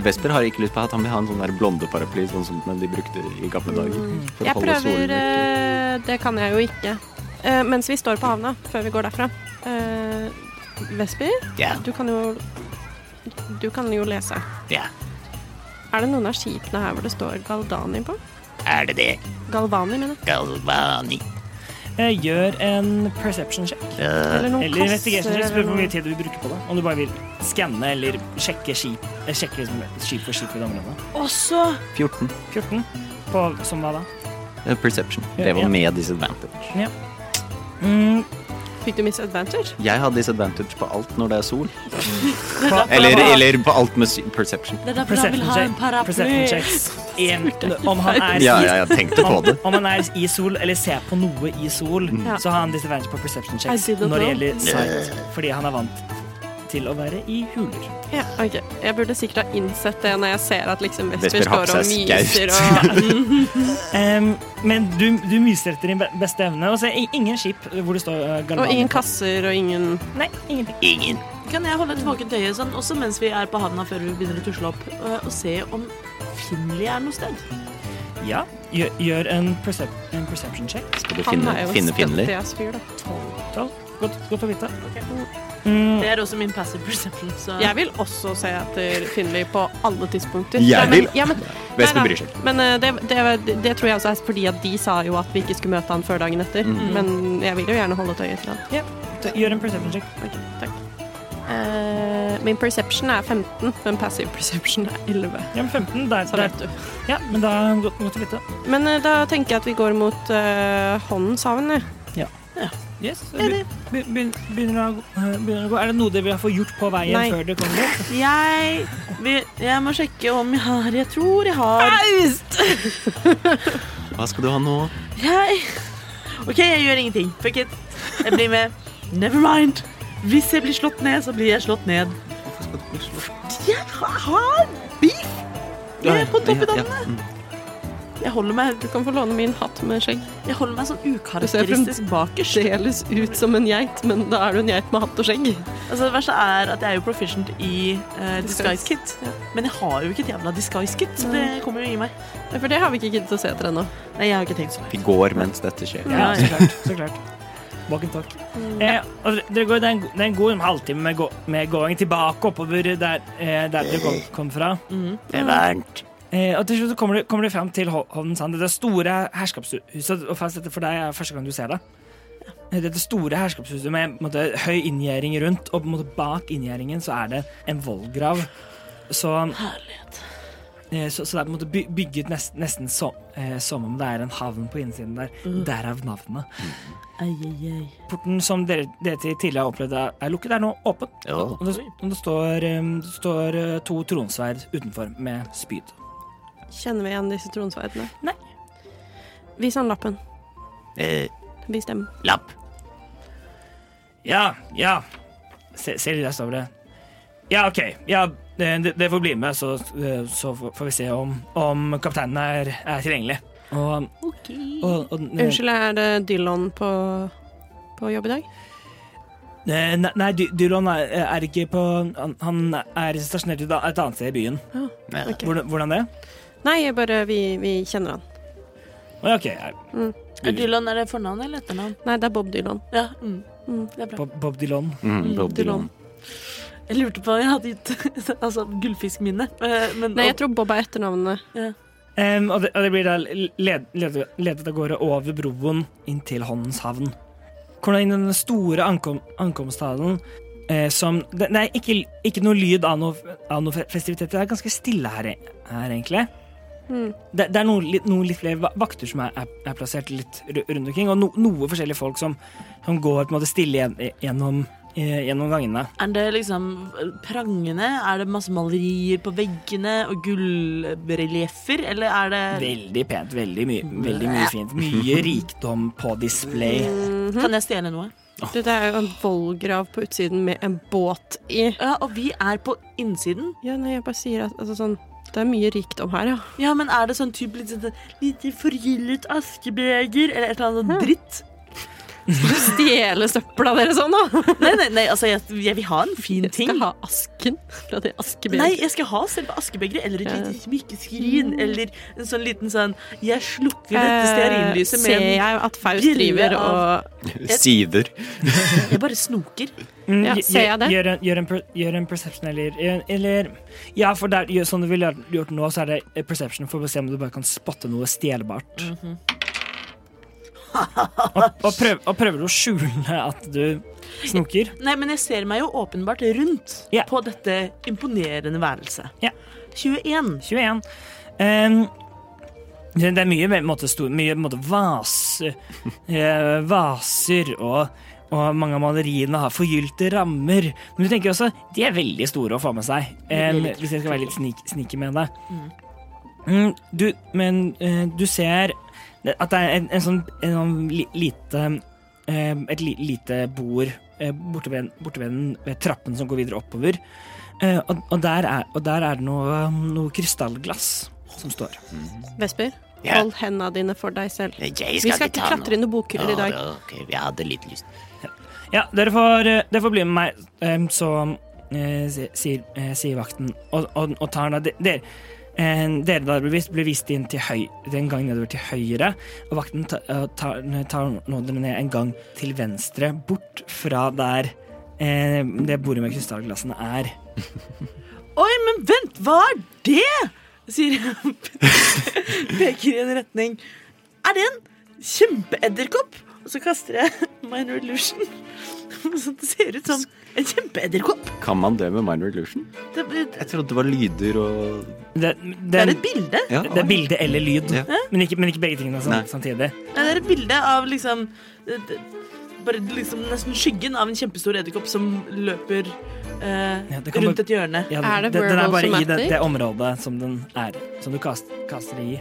Vesper har ikke lyst på hatt, han vil ha en sånn der blonde paraply, sånn som den de brukte i gamle dager. for å
Jeg
holde
prøver
solen ute.
eh, Det kan jeg jo ikke. Eh, Mens vi står på havna, før vi går derfra. eh, Vesper,
Ja,
du kan jo Du kan jo lese.
ja.
Er det noen av skipene her hvor det står Galdani på?
Er det det?
Galvani, mener jeg.
Galvani.
Eh, Gjør en perception check.
Øh,
Eller noen
Eller investigation check. Spør
eller
hvor mye
noe.
tid du bruker på det. Om du bare vil skanne eller sjekke skip, eh, sjekke liksom skip for skip i det området.
*laughs* Også
14.
14. På, som hva da?
eh, Perception.
Ja,
Det
ja.
var med disadvantage.
Mm,
Fikk du misadvantage?
Jeg har disadvantage på alt når det er sol.
Det er derfor
Eller,
han vil ha-
eller på alt med sy- perception.
Det er derfor han vil
Perception,
ha en
check, perception
paraply.
checks. En, om han er
Ja,
i-
ja, jeg tenkte på det.
Om han er i sol, eller ser på noe i sol,
Mm.
Ja.
så har han disadvantage på perception checks
I didn't
når det
know.
gjelder sight, fordi han er vant til å være i huler.
Ja, ok. Jeg burde sikkert ha innsett det når jeg ser at liksom Vesper
Vesper har
står
på
og
seg
myser
skaut.
og
Em, men du, du myser etter din be- beste evne, og ser i- ingen skip hvor det står uh,
*laughs*
Og
Galvan.
ingen kasser og ingen
Nei, ingenting.
Kan jeg holde et våkent øye sånn, også mens vi er på havna før vi begynner å tusle opp, øh, og se om Finli er noe sted?
Ja, gjør, gjør en, percep en perception check.
Skal du
Han
finne,
er jo en
finne Finley?
skattias fyr, da.
Tolv. Godt, godt å vite. Mm,
Det er også min passive perception, så
Jeg vil også se etter Finley på alle tidspunkter.
Jeg
Nei, men-
vil-
Ja, men,
Vesper
nei, nei.
bryr seg.
Men eh, det, det, det tror jeg også er fordi at de sa jo at vi ikke skulle møte han før dagen etter.
Mm.
Men jeg vil jo gjerne holde et øye til han.
t- gjør en perception check.
Ok, takk. Eh, min perception er 15, men passive perception er 11.
Ja, men 15. Der,
Så
der.
vet du.
Ja, men da godt, godt å vite.
Men eh, da tenker jeg at vi går mot eh, hånden sammen. jeg.
Yes, så be- be- be- begynner, å, gå- eh, begynner å gå. Er det noe dere vil få gjort på veien
Nei.
før det kommer dit?
Jeg, vil, jeg må sjekke om jeg har Jeg tror jeg har
Hva skal du ha nå?
Jeg OK, jeg gjør ingenting. Fuck it. Jeg blir med. Never mind. Hvis jeg blir slått ned, så blir jeg slått ned. Jeg har beef! Jeg er på topp i dagen. Jeg holder meg,
Du kan få låne min hatt med skjegg.
jeg holder meg sånn
Du ser
ukarakteristisk
frem- Deles ut som en geit, men da er du en geit med hatt og skjegg.
Altså Det verste er at jeg er jo proficient i eh, disguise kit.
Ja.
Men jeg har jo ikke et jævla disguise kit, så det kommer jo i meg.
For det har vi ikke giddet å se etter ennå.
Nei, jeg har ikke tenkt så mye.
Vi går mens dette skjer.
Ja,
Ja,
så klart. Så klart. Walk and talk. Eh, og dere- dere går, det, er en, go- det er en god halvtime med, gå, med gåing tilbake oppover der, eh, der dere kom, kom fra.
Det er varmt.
Eh, og til slutt så kommer du, kommer du frem til Ho- Hovden Sand, dette store herskapshuset. Og fast dette for deg er første gang du ser det. Eh, Dette store herskapshuset med på en måte, høy inngjerding rundt, og på en måte, bak inngjerdingen så er det en vollgrav. Så, eh, så, så det er på en måte by- bygget nest, nesten så, eh, som om det er en havn på innsiden der. Derav navnet.
Ei, ei, ei.
Porten som dere, dere til tidligere har opplevd er er lukket, er nå åpen. Og det, og det står, em, det står eh, to tronsverd utenfor med spyd.
Kjenner vi igjen disse tronsverdene?
Nei.
Vis han lappen.
Eh,
Vis dem.
lapp.
Ja, ja. Se, ser de der står det. Ja, OK. Ja, det, det- det får bli med, så, eh, så får får vi se om, om kapteinen er, er tilgjengelig. Og, og, eh, og
eh.
Unnskyld, er det Dylan på, på jobb i dag?
eh, Nei, nei Dy- Dylon er, er ikke på Han, han er stasjonert et annet sted i byen.
Ok.
Hvordan, hvordan det?
Nei, jeg bare vi, vi kjenner han.
Å, ja, OK. er-
Er Dylan er det fornavn eller etternavn?
Nei, det er Bob Dylan.
Ja. Mm.
Mm.
Det er bra.
Bob, Bob Dylan.
Mm, Bob Dylan.
Jeg lurte på om jeg hadde gitt *laughs* altså, gullfiskminne, eh, men
Nei, jeg tror Bob er etternavnet.
Em, og, det, og det blir da led, led, ledet av gårde over broen inn til Håndens havn. Kommer da inn i den store ankom, ankomsthallen eh, som Det, det er ikke, ikke noe lyd av noe, av noe fe- festiviteter. Det er ganske stille her, e- her egentlig.
Mm.
Det, det er noen, litt- noen litt flere va- vakter som er, er, er plassert litt ru- rundt omkring, og no, noe forskjellige folk som, som går på en måte stille gjen- gjennom, eh, gjennom gangene.
Er det liksom prangende? Er det masse malerier på veggene og gullrelieffer? Eller er det
Veldig pent, veldig mye, veldig mye fint. Mye rikdom på display.
Kan jeg stjele noe?
Du, det er jo en vollgrav på utsiden med en båt i.
Ja, og vi er på innsiden.
Ja, nei, jeg bare sier at altså, sånn, det er mye rikdom her, ja.
Ja,
*laughs*
men er det sånn typ litt sånn lite forgyllet askebeger eller et eller annet sånn dritt?
Stjele søpla dere sånn, da!
Nei, nei, nei, altså jeg, jeg vil ha en fin
Jeg
ting.
skal ha asken fra det askebedet.
Nei, jeg skal ha selve askebegeret eller et
Ja.
lite smykkeskrin eller en sånn liten sånn Jeg slukker
Eh,
dette stearinlyset med
Ser
en
jeg at Faust
brille
driver
av-
og
Sider.
Jeg bare snoker.
Mm,
Ja,
gj-
ser jeg
gjør-
det?
Gjør en, gjør en, per, gjør en perception eller, eller Ja, for der, gjør, sånn du ville gjort nå, så er det eh, perception for å se om du bare kan spotte noe stjelbart.
Mhm.
og, og, prøv, og prøver du å skjule at du snoker?
Nei, men jeg ser meg jo åpenbart rundt
Ja.
på dette imponerende værelset.
Ja.
21.
21. Ehm, det det er mye, mer, på en måte, stor, mye på en måte, vas, eh, vaser og, Og mange av maleriene har forgylte rammer. Men du tenker også de er veldig store å få med seg, eh,
blir litt
hvis jeg skal være litt sneak, sneaky med det. Mm, du, men eh, du ser at det er en, en sånn en, sånn li, lite eh, Et li, lite bord eh, borte, ved, en- borte ved, den, ved trappen som går videre oppover. Eh, og, og, der er, og der er det noe, noe krystallglass som står.
Vesper,
Ja.
hold hendene dine for deg selv.
Jeg
Vi skal ikke klatre inn i bokhyller i dag.
jeg hadde litt lyst.
Ja, dere får, eh, dere får bli med meg, em, så eh, si- sier, eh, sier vakten, og, og, og tar da de- dere. eh, Dere da blir vist, blir vist inn til høy, den gang nedover til høyre, og vakten ta- eh, tar, tar nå dere ned en gang til venstre, bort fra der eh, det bordet med krystallglassene er.
Oi, men vent, hva er det? Sier jeg. *laughs* Peker i en retning. Er det en kjempeedderkopp? Og så kaster jeg minor *laughs* illusion. Så det ser ut som en kjempeedderkopp.
Kan man det med minor illusion?
Det, det,
Jeg trodde det var lyder og
Det,
det
det,
er et bilde.
ja,
det er bilde eller lyd,
Ja.
men, ikke, men ikke begge tingene sam-
Nei.
samtidig.
Nei, det er et bilde av liksom det- det- Bare liksom nesten skyggen av en kjempestor edderkopp som løper eh,
Ja, det kan
rundt
bare-
et hjørne.
Ja,
Er det
den er
verbal
bare i det,
somatic?
det området som den er, som du kast, kaster det i.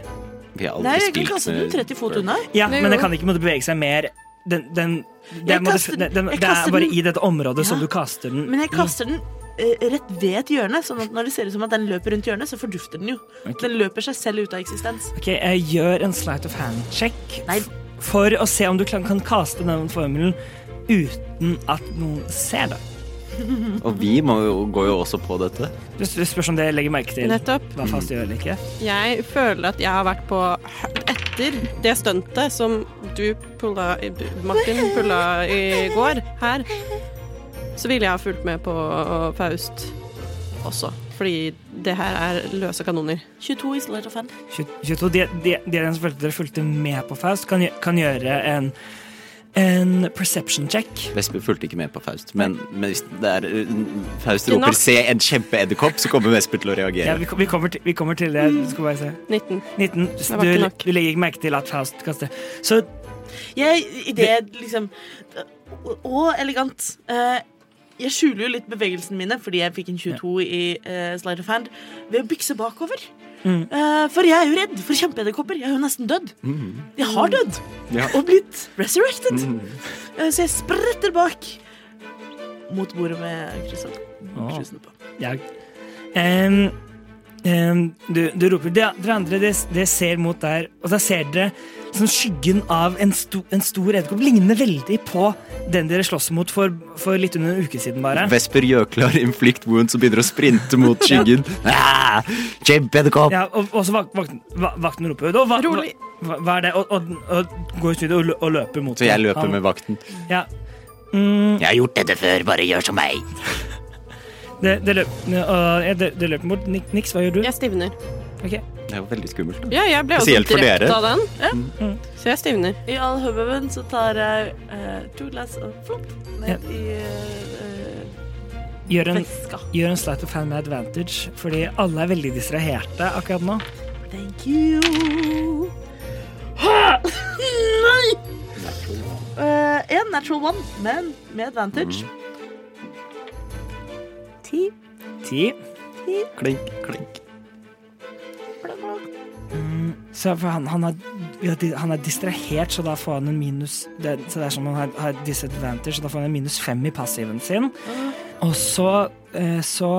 Vi har
Nei,
aldri
jeg kan
spilt
kaste den 30 fot unna.
Ja,
Nei,
men den
jo.
kan ikke måtte bevege seg mer. Den, den, den,
Jeg
må du-
kaster
den,
den-
den,
jeg
det
kaster
er bare
den-
i dette området som
Ja.
du kaster den
Men jeg
i.
kaster den eh, rett ved et hjørne, sånn at når det ser ut som at den løper rundt hjørnet, så fordufter den jo.
Ok.
Den løper seg selv ut av eksistens.
Ok, jeg gjør en sleight of hand-check
Nei.
for å se om du kan, kan kaste den formelen uten at noen ser det.
Og vi må jo, går jo også på dette.
Du, du spørs om det legger merke til
Nettopp.
hva fast gjør eller ikke.
Jeg føler at jeg har vært på etter det stuntet som du pulla i Martin pulla i går her, så ville jeg ha fulgt med på Faust også. Fordi det her er løse kanoner.
22 isolert og fan.
22. De, de, de av dere som fulgte, dere fulgte med på Faust, kan, gjø- kan gjøre en, en perception check.
Vesper fulgte ikke med på Faust, men, men hvis det er, uh, Faust
Ikke nok.
roper 'se en kjempeedderkopp', så kommer Vesper til å
Ja,
Eh.
reagere.
vi, vi, kommer til, vi kommer til det. Du skal bare se.
19.
19.
var ikke
Du,
nok.
du legger ikke merke til at Faust kaster. Så
Jeg, i det jeg liksom å- Å, elegant. Eh, jeg skjuler jo litt bevegelsene mine, fordi jeg fikk en 22 i uh, slide of hand, ved å bykse bakover.
Mm.
Eh, for jeg er jo redd for kjempeedderkopper. Jeg er jo nesten dødd. Jeg har dødd
Ja.
og blitt resurrected. Eh, så jeg spretter bak mot bordet med Kristian.
Åh.
på.
Ja. Em, em, du, du roper Dere dere andre det, det ser mot der, og da ser dere sånn skyggen av en, sto, en stor edderkopp. Ligner veldig på den dere sloss mot for, for litt under en uke siden, bare.
Vesper gjør klar inflict wounds og begynner å sprinte mot skyggen. Ah, kjempeedderkopp!
Ja, og, og så vak, vakten, va- vakten roper og hva,
Rolig.
Hva, hva er det? Og, og, og går ut i studio og, lø- og løper mot
Så jeg
den.
løper
Han-
med vakten.
Ja. Mm,
Jeg har gjort dette før, bare gjør som meg.
det, det, løp, og, ja, det, det løper mot Nik- Nix. Hva gjør du?
Jeg stivner.
Ok.
Det er jo veldig skummelt.
Ja, jeg ble også
Spesielt for
drept
dere.
av den.
Mm.
Så jeg stivner.
I all hubbuben så tar jeg eh, to glass og flopp ned i eh,
Gjør en,
veska.
gjør en slight of hand med advantage, fordi alle er veldig distraherte akkurat nå.
Thank you. Ha! *laughs* Nei! Eh, en natural one, men med advantage. Ti.
Ti.
Klink, klink.
Så for han, han, er, ja, de- han er distrahert, så da får han en minus det, Så det er som om han har, har disadvantage, så da får han en minus fem i passiven sin.
Mm.
Og så, eh, så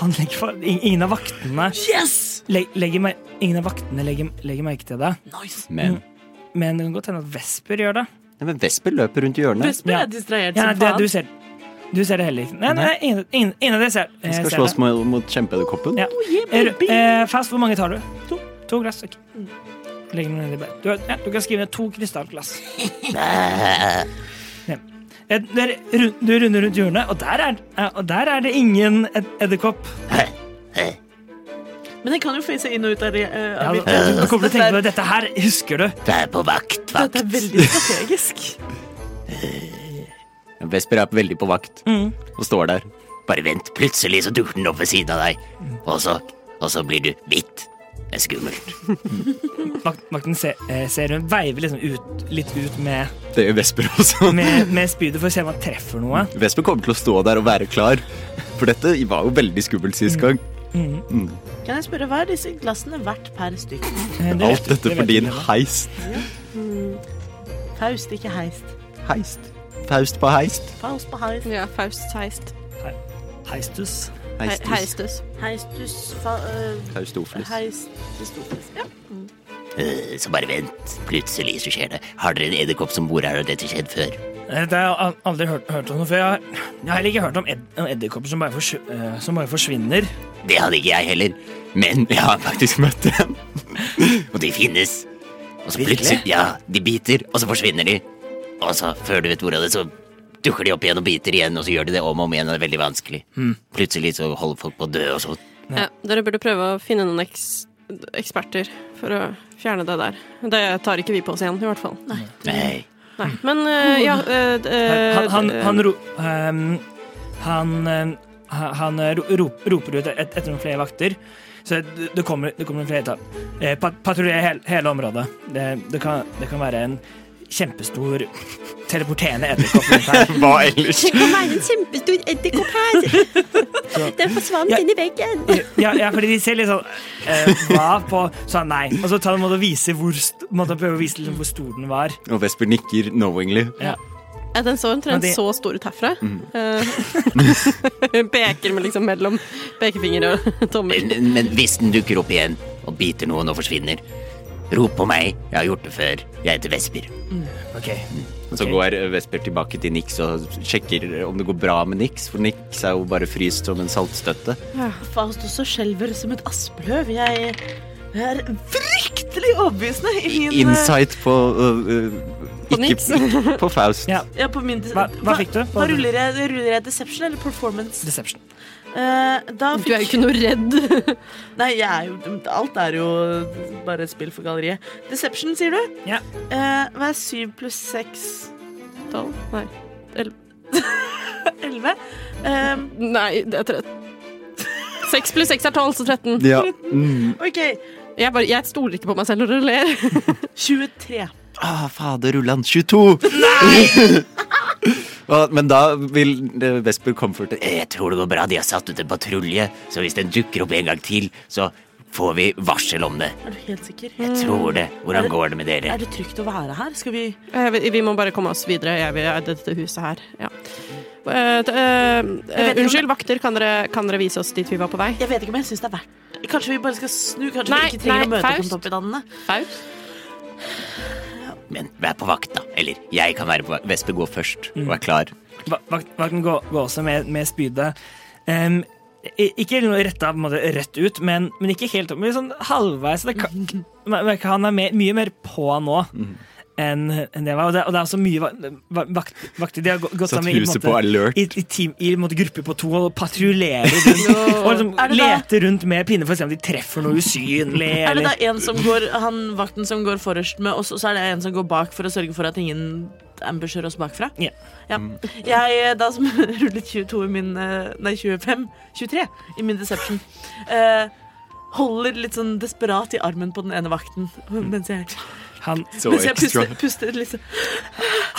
han legger for, ing- Ingen av vaktene
Yes!
le, legger, mer- Ingen av vaktene legger, legger merke til det.
Nice.
Men,
Men det kan godt hende at Vesper gjør det.
Mm. Nei, men Vesper løper rundt hjørnet.
Vesper
Ja.
er distrahert
Ja,
som
det
faen.
du, ser, du ser det heller ikke. Nei, nei, ingen, ingen, ingen av dere ser, eh,
Vi skal
ser
slåss
det.
mot, mot kjempeedderkoppen.
Ja. Er, du- eh, fast, hvor mange tar du?
To.
To Mm. glass. ok. Legger den ned i bag. Du, har- ja, du kan skrive ned to *laughs* krystallglass. Ja. Eh, der rund- Du runder rundt hjørnet, og der er, eh, og der er det ingen ed- edderkopp.
Men den kan jo face inn og ut av det. eh,
Ja,
av
du,
bildet.
du kommer til å tenke på *laughs*
Dette er-
det. Dette her husker du.
Du er på vakt,
Dette er veldig strategisk.
Vesper er veldig på vakt
Mm.
og står der.
Bare vent, plutselig så dukker den opp ved siden av deg. Og så, og så blir du bitt
Det er skummelt.
Mak- Makten ser, eh, ser hun veiver liksom ut, litt ut med,
Det gjør Vesper også.
med, med spydet for å se om han treffer noe.
Vesper kommer til å stå der og være klar. For dette var jo veldig skummelt sist gang.
Mm.
Kan jeg spørre, hva er disse glassene verdt per stykk?
Eh, det vet
Alt
du-
dette
det
for
vet du
din
ikke.
heist.
Faust, ikke heist.
Heist. Faust på heist.
Faust på heist.
Ja, Faust heist.
Heistus.
He
Heistus.
heistus.
Heistus fa... øh,
Faustofles.
Heististofles. Ja.
Eh, Så bare vent. Plutselig så skjer det. Har dere en edderkopp som bor her, og dette skjedd før?
Eh, Det har jeg al- aldri hørt, hørt om noe før. Jeg har, jeg har heller ikke hørt om ed- om edderkopper som, bare forsv- eh, som bare forsvinner.
Det hadde ikke jeg heller. Men jeg har faktisk møtt dem. Og de finnes. Og så plutselig Ja, de biter, og så forsvinner de. Og så, før du vet ordet av det, så dukker de opp igjen og biter igjen, og så gjør de det om og om igjen, og det er veldig vanskelig.
Hmm.
Plutselig så holder folk på å dø, og så
Ja.
Ja, dere burde prøve å finne noen eks eksperter for å fjerne det der. Det tar ikke vi på oss igjen, i hvert fall. Nei.
Nei.
Men eh, ja eh, d- eh,
Han, han,
d-
han, ro, ehm, han, ehm, ha- han eh, ro- rop, roper ut et, etter noen flere vakter. Så det det kommer, det kommer noen flere etter. Eh, pat- Patruljer hele, hele området. Det, det, kan, det kan være en kjempestor teleporterende edderkopp rundt her.
Hva ellers?
Det kan være en kjempestor edderkopp her! Den forsvant
Ja.
inn i veggen.
Ja, ja, fordi de ser litt sånn eh, Hva på Sånn nei. Og så tar han en måte å vise hvor, st- måte å prøve å vise liksom hvor stor den var.
Og Vesper nikker knowingly.
eh, ja, Den så
Men
omtrent
det- Mm.
så stor ut herfra. Eh, *laughs* Peker med liksom mellom pekefinger og *laughs* tommel.
Men, men hvis den dukker opp igjen og biter noen og forsvinner, rop på meg. Jeg har gjort det før. Jeg heter Vesper.
Ok,
Så går Vesper tilbake til Nix og sjekker om det går bra med Nix, for Nix er jo bare fryst som en saltstøtte.
Faust også skjelver som et aspeløv. Jeg er fryktelig overbevisende i min øh,
Insight på øh, øh,
På
Ikke
Nix.
ikke på Faust.
Ja.
Ja, på min
Hva- hva fikk du?
Hva ruller jeg? Ruller jeg deception eller performance?
Deception.
Eh, da
Du er jo
fikk
ikke noe redd.
Nei, jeg er jo Alt er jo bare et spill for galleriet. Deception, sier du?
Ja.
Eh, hva er syv pluss seks?
*laughs* Tolv? Nei.
Elleve? Ehm,
Nei, det er trett. Seks pluss seks er tolv, så 13.
*laughs*
Ja. Mm.
OK.
Jeg, bare, jeg stoler ikke på meg selv når dere ler.
23.
Ah, fader, Ulland. 22! Nei!
*laughs*
Men da vil eh, Vesper comforte
Eh, Jeg tror det går bra. De har satt ut en patrulje, så hvis den dukker opp en gang til, så får vi varsel om det.
Er du helt sikker?
Jeg tror det. Hvordan går det med
Er
dere?
det trygt å være her? Skal vi
Eh, Vi, vi må bare komme oss videre. Jeg vil jeg- dette huset her. Ja. Eh, d- eh, eh, unnskyld, vakter. Kan dere, kan dere vise oss dit vi var på vei?
Jeg vet ikke om jeg syns det er verdt Kanskje vi bare skal snu? Kanskje
Nei,
vi ikke trenger
nei,
å møte opp
Faust.
om toppidannene?
Faust?
Men vær på vakt, da. Eller jeg kan være på vakt. Vesper går først.
og er klar.
Va- vak- Vakten går, går også med, med spydet. Em, i- ikke noe retta på en måte, rett ut, men, men ikke helt opp. Men sånn halvveis. Det kan,
*laughs*
man merker han er mer, mye mer på nå
Mhm.
enn enn det var. Og det, og det er også mye va- va- vakt, vakter. De har gå- gått
Satt
sammen i, på en
huset
måte-
på alert.
i, i, team, i en måte, grupper på to og
*laughs*
patruljerer rundt. og liksom
Er det da-
leter rundt med pinne for å se om de treffer noe usynlig.
*laughs* Er det
Eller,
da en som går Han vakten som går forrest med oss, og så er det en som går bak for å sørge for at ingen ambusher oss bakfra?
Ja.
Ja. Jeg eh, da som *laughs* rullet 22 i min eh, Nei, 25. 23 i min deception. eh, holder litt sånn desperat i armen på den ene vakten mens jeg,
han,
*laughs*
Så
mens jeg
extra.
puster, puster litt sånn.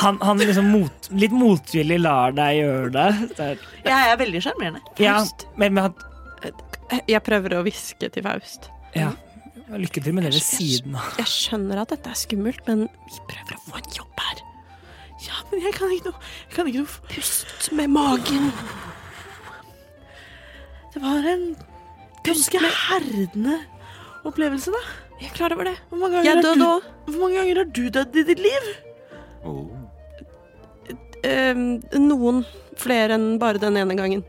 han, han liksom mot, litt motvillig lar deg gjøre det. det er,
Jeg er veldig sjarmerende.
ja,
Faust.
men, men han,
eh, Jeg prøver å hviske til Faust.
Ja. Lykke til med det ved siden av.
Jeg skjønner at dette er skummelt, men vi prøver å få en jobb her.
Ja, men jeg kan ikke noe. Jeg kan ikke noe.
Pust med magen.
Det var en ganske herdende opplevelse, da.
Jeg er klar over det.
Hvor mange ganger,
Jeg
har,
døde
du,
òg.
hvor mange ganger har du dødd i ditt liv?
Ehm, noen flere enn bare den ene gangen.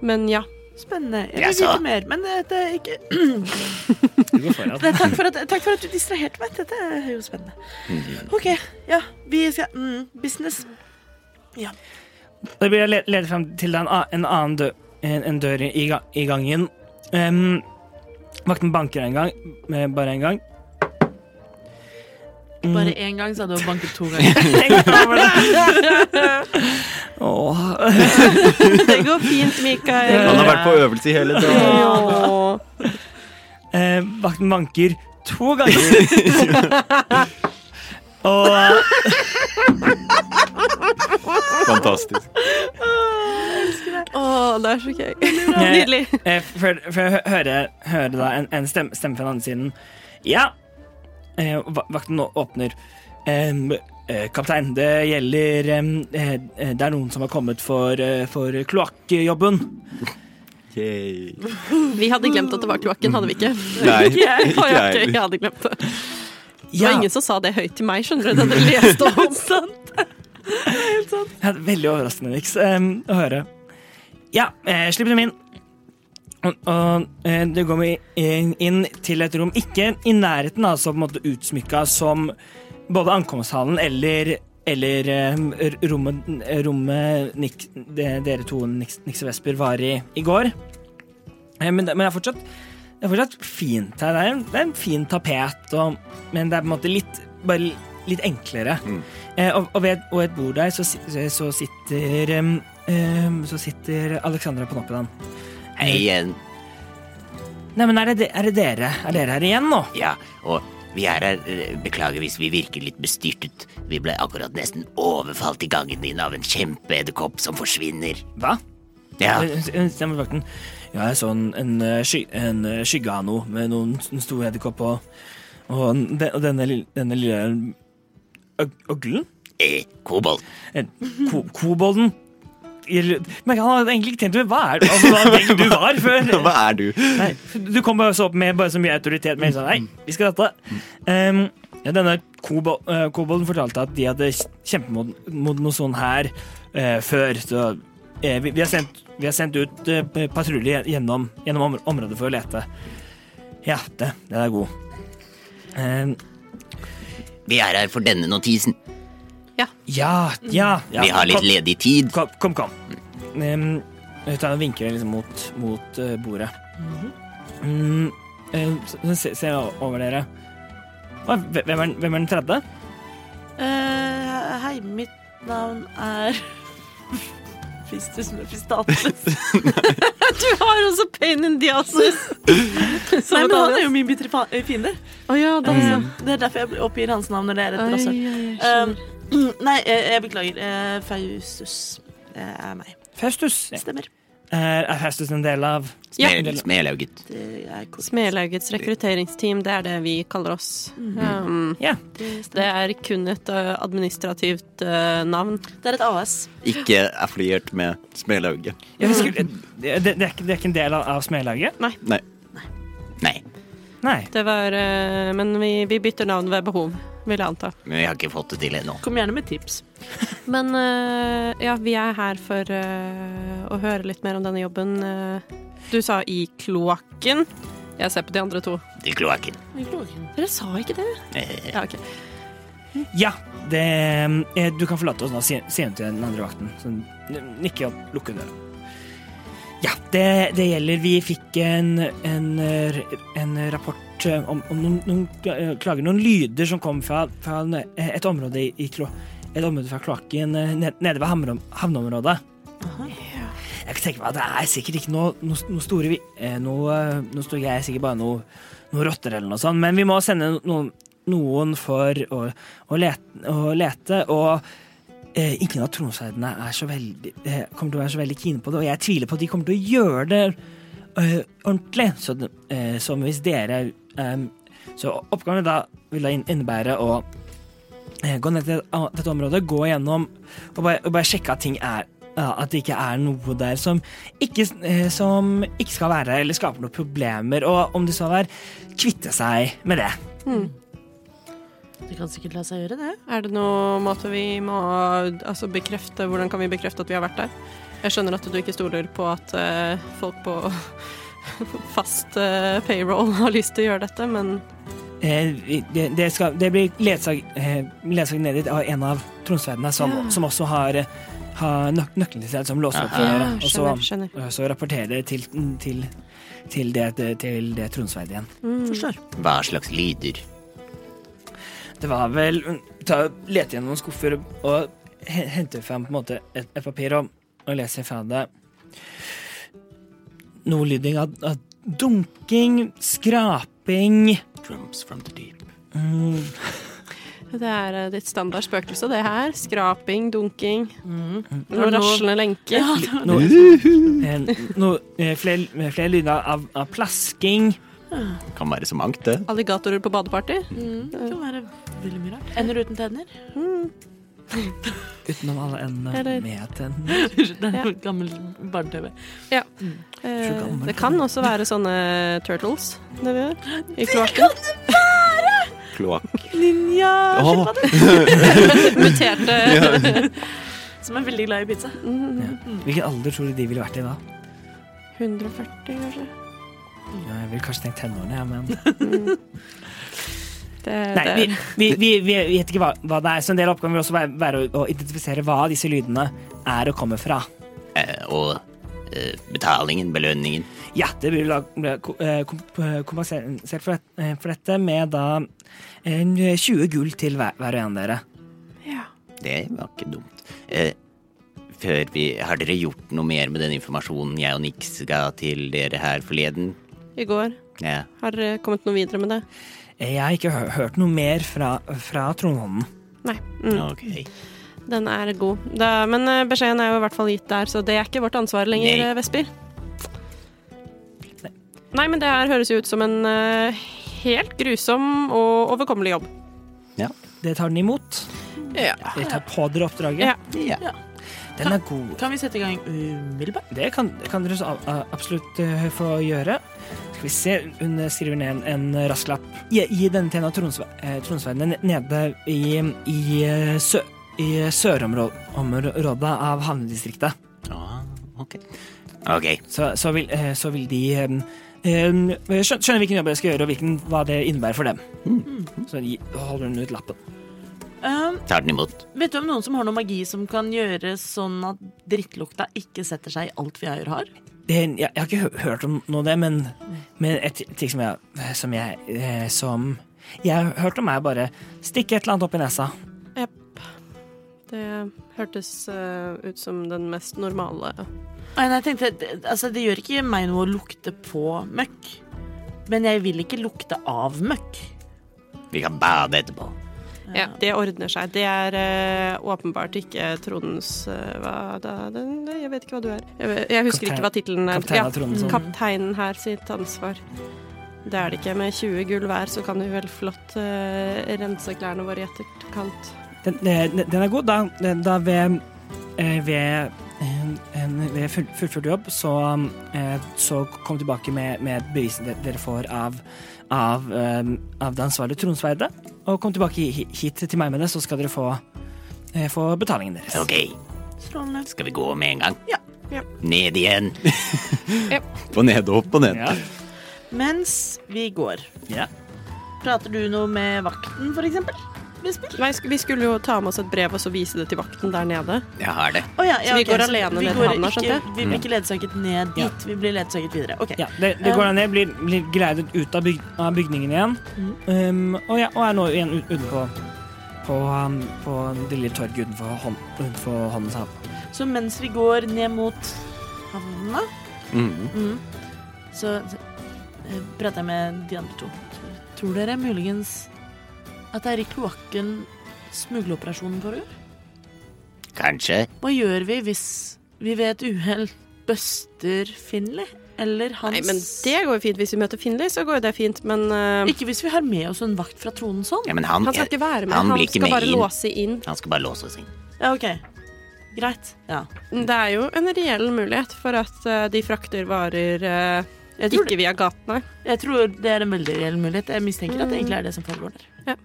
Men ja.
Spennende. Jeg vil
Jaså?
vite mer, men eh, det er ikke *clears throat*
Du går foran.
det er takk, for at, takk for at du distraherte meg. Dette er jo spennende. OK. Ja, vi skal mm, Business.
Da blir jeg le- ledet frem til en, a- en annen dø en, en dør i, ga i gangen. Ehm, vakten banker en gang, eh, bare en gang. Mm. *laughs*
Bare én gang, sa du, og banket to ganger. *laughs*
Tenk over det! Åh.
Det går fint, Mikael. *laughs*
Han har vært på øvelse i hele dag.
Åh.
Eh, vakten banker to ganger. *laughs* og eh,
Fantastisk.
Å, det er så gøy. *laughs*
Nydelig.
Nydelig.
før eh, jeg hører, hører da en, en stemme, stemme fra den andre siden. Ja. Eh, va- vakten nå åpner. Em, eh, kaptein, det gjelder em, eh, Det er noen som har kommet for, eh, for kloakkjobben.
Yay.
Vi hadde glemt at det var kloakken, hadde vi ikke?
Nei,
*laughs* Ikke jeg.
ikke
Å, ja, ok,
jeg.
jeg hadde glemt det. Det
Ja,
var ingen som sa det høyt til meg, skjønner du, da dere leste *laughs* om sånn. det.
ja, veldig overraskende, Nix, em, å høre. Ja, eh, slipp dem inn. Og, og eh, det går vi inn, inn til et rom, ikke i nærheten, altså på en måte utsmykka som både ankomsthallen eller eller em, r- rommet, eh, rommet Nick, de, dere to, Nix, Nix og Vesper, var i i går. Eh, Men det, men det er fortsatt Det er fortsatt fint her. Det er en, det er en fin tapet, og, men det er på en måte litt Bare litt enklere. Eh, og, og ved og et bord der så, si- så- så sitter em, em, Så sitter Alexandra Panoppidan.
Hei igjen.
Nei, men er det, de- er det dere? Er dere her igjen nå?
Ja, og vi er her. eh, Beklager hvis vi virker litt bestyrtet. Vi ble akkurat nesten overfalt i gangen din av en kjempeedderkopp som forsvinner.
Hva?
Ja,
Eh, eh, Stemmer vakten. Ja, jeg så en, en, eh, sky, en eh, skygge av noe med noen, en stor edderkopp og, og, den- og denne, lille- denne lille øg- øglen?
eh, kobolt.
Eh, Ko kobolden? Eller- Men han hadde egentlig ikke tenkt over hva er det altså, hva tenkte du var før.
*laughs* Hva er du?
Nei, du kom bare så opp med bare så mye autoritet. Men jeg sa nei, vi skal dette. Ehm, ja, denne kobo eh, kobolden fortalte at de hadde kjempet mot, mot noe sånn her eh, før. Så eh, vi, vi, har sendt, vi har sendt ut eh, patrulje gjennom, gjennom om området for å lete. Ja, det, den er god. Ehm,
Vi er her for denne notisen.
ja, ja, ja.
Vi har litt
Kom-
ledig tid.
Kom, kom. kom. Um, han vinker liksom mot, mot eh, bordet. Mm, eh, så- så se- ser jeg over dere. Å, hve- Hvem er, den- hvem er den tredje?
Eh, hei, mitt navn er Fistus Mefistatus.
Du har også pain in *laughs* diasis.
Nei, men han er jo min bitre fa- fiende.
Å ja, da
Det er derfor jeg oppgir hans navn når det er et
Oi,
rasshøl.
oi, oi.
Um, *clears throat* nei, jeg, jeg beklager. Eh, Faustus eh, er meg.
Faustus.
Stemmer.
Er, er Faustus en del av
Ja.
Smel, smelauget.
Det er korrekt.
Smelaugets rekrutteringsteam, det er det vi kaller oss. Um,
Ja.
Det
det
stemmer.
er kun et uh, administrativt uh, navn.
Det er et AS.
Ikke affiliert med Smelauget.
Jeg husker, det, det, er ikke, det er ikke en del av, av smedlaget?
Nei.
Nei,
Nei.
Det var uh, Men vi, vi bytter navn ved behov, vil jeg anta.
men vi har ikke fått det til ennå.
Kom gjerne med tips.
Men uh, ja, vi er her for uh, å høre litt mer om denne jobben. Uh, du sa i kloakken. Jeg ser på de andre to.
Til kloakken.
Dere sa ikke det?
Eh,
Ja, ok.
Ja, det, eh, du kan forlate oss nå, sier sier hun til den andre vakten. Så hun nikker og lukker døra. Ja, det, det gjelder. Vi fikk en, en, eh, en rapport eh, om, om noen, noen eh, klager, noen lyder som kom fra, fra en- et område i, i klo, et område fra kloakken eh, ned- nede ved havneom- havneområdet. Jeg kan tenke meg at det er sikkert ikke noe, noe, noe store vi- eh, noe, noe store greier, sikkert bare noe, noe rotter eller noe sånt, men vi må sende noen, noen for å, å, lete, å lete, og eh, ingen av tronsverdene er så veldig eh, kommer til å være så veldig kine på det, og jeg tviler på at de kommer til å gjøre det eh, ordentlig, så, det- eh, som hvis dere eh, Så oppgaven da vil da inn- innebære å eh, gå ned til a- dette området, gå gjennom og bare, og bare sjekke at ting er ja, at det ikke er noe der som ikke, eh, som ikke skal være der, eller skaper noen problemer. Og om det så er, kvitte seg med det.
Det kan sikkert la seg gjøre, det.
Er det noen måte vi må altså, bekrefte Hvordan kan vi bekrefte at vi har vært der? Jeg skjønner at du ikke stoler på at eh, folk på *laughs* fast eh, payroll har lyst til å gjøre dette, men
Eh, vi- Det, det, skal, det blir ledsag, eh, ledsaget ned dit av en av tronsverdene som, som også har, eh, har nøk nøkkelen til seg, som låser opp for døra.
Ja,
Og så,
skjønner, skjønner.
og så rapporterer det til, til, til det, til det tronsverdet igjen.
Hva slags lyder?
Det var vel ta, Lete gjennom noen skuffer og he- hente fram på en måte et, et papir og, og lese fra det. Noe lyding av, av dunking, skraping
Drums from the deep.
mm,
Det er eh, ditt standard spøkelse, det her. Skraping, dunking,
Mm.
noen raslende lenker.
noe, eh, noe, eh, flere, flere lyder av, av plasking.
Kan være så mangt, det.
Alligatorer på badeparty.
Mm. Det kan være veldig mye rart. Ender uten *laughs* tenner.
Mm.
Utenom alle endene
Eller-
med tennene.
Det er
Ja.
gammel barne-TV.
Eh,
gammel
Det kan også være sånne turtles det vi gjør, *gasps* i kloakken.
Kloakk.
Ninja
Åh.
*laughs* Muterte
som er veldig glad i pizza.
Mm,
Hvilken alder tror du de ville vært i da?
140, kanskje.
Ja, jeg ville kanskje tenkt tenårene, ja, men
Det,
Nei, vi,
det.
vi, vi, vi vet ikke hva, hva det er, så en del av oppgaven vil også være, være å, å identifisere hva disse lydene er og kommer fra.
Eh, og eh, betalingen, belønningen.
Ja, det blir da blir ko- eh, komp- eh, kompensert for, det- eh, for dette med da en 20 gull til hver, hver og en av dere.
Det var ikke dumt. Eh, før vi Har dere gjort noe mer med den informasjonen jeg og Nix ga til dere her forleden?
I går
Ja.
har dere kommet noe videre med det.
Eh, Jeg har ikke hø- hørt noe mer fra, fra Trondhånden.
Nei. Mm.
Ok.
Den er god. Da, men eh, beskjeden er jo i hvert fall gitt der, så det er ikke vårt ansvar lenger,
Nei.
eh, Vesper. Nei, men det her høres jo ut som en eh, helt grusom og overkommelig jobb.
Det tar den imot.
Ja.
Dere tar på dere oppdraget.
Ja.
Den er god.
Kan vi sette i gang umiddelbart?
Det kan, det kan dere så a- a- absolutt eh, få gjøre. Skal vi se, hun eh, skriver ned en, en rask lapp. Gi, gi denne til en av tronsve- eh, tronsveinene nede i, i, eh, sø, i sørområdet av havnedistriktet.
Ah, ok. Ok.
Så, så, vil, eh, så vil de eh, eh, skjøn- skjønne hvilken jobb jeg skal gjøre, og hvilken, hva det innebærer for dem.
Mm.
Så gi- holder hun ut lappen.
Um,
Tar den imot.
vet du om noen som har noe magi som kan gjøre sånn at drittlukta ikke setter seg i alt vi eier og har?
Det, jeg, jeg har ikke hø- hørt om noe av det, men, men et ti- ting som jeg som jeg, eh, som jeg har hørt om, er bare stikke et eller annet opp i nesa.
Det hørtes eh, ut som den mest normale
Nei, nei, jeg tenkte, det- altså, det gjør ikke meg noe å lukte på møkk. Men jeg vil ikke lukte av møkk.
Vi kan bade etterpå.
Ja, det ordner seg. Det er eh, åpenbart ikke Trondens eh, hva da, den, Jeg vet ikke hva du er. Jeg, vet- jeg husker
Kaptein-
ikke hva tittelen er. mm,
kaptein av sånn. Trondens.
kapteinen her sitt ansvar. Det er det ikke. Med 20 gull hver så kan vi vel flott eh, rense klærne våre i etterkant.
Den, den, den er god. Da, da ved, eh, ved, en, en- ved full, fullført jobb, så, eh, så kom tilbake med, med bevisene de- dere får av, av, eh, av det ansvarlige tronsverdet. Og kom tilbake hi- hit til meg med det, så skal dere få, eh, få betalingen deres.
Ok.
Strålende.
Skal vi gå med en gang?
Ja.
Ja.
Ned igjen.
På nede og opp og ned.
Ja.
Mens vi går,
Ja.
prater du noe med vakten, for eksempel? Vesper?
Nei, sk- vi skulle jo ta med oss et brev og så vise det til vakten der nede.
Jeg har det.
Å ja, ja,
Så vi
ok,
går alene
vi
ned til
går
havna,
ikke-
skjønte jeg?
Vi blir ikke ledsaget ned
Ja.
dit, vi blir ledsaget videre. Ok.
Ja, det, det går ned, blir, blir gleidet ut av, byg, av bygningen igjen. Um, og, ja, og er nå igjen ut- utenpå på, um, på det lille torget utenfor, hånd, utenfor håndens hav.
Så mens vi går ned mot havna,
Mhm.
Mm. Så eh, prater jeg med de andre to. Tror dere muligens at det er i kloakken smugleoperasjonen foregår?
Kanskje.
Hva gjør vi hvis vi ved et uhell bøster Finley? Eller hans
Nei, men det går jo fint. Hvis vi møter Finlay, så går jo det fint, men eh,
Ikke hvis vi har med oss en vakt fra tronen sånn.
Ja, men han,
han skal ikke være med.
Han
Han,
blir ikke
skal
med
bare
inn.
låse inn.
han skal bare låse oss inn.
Ja, OK. Greit. Ja.
Det er jo en reell mulighet for at eh, de frakter varer eh,
Jeg tror,
ikke via gatene.
jeg tror det er en veldig reell mulighet. Jeg mistenker at det egentlig er det som foregår der.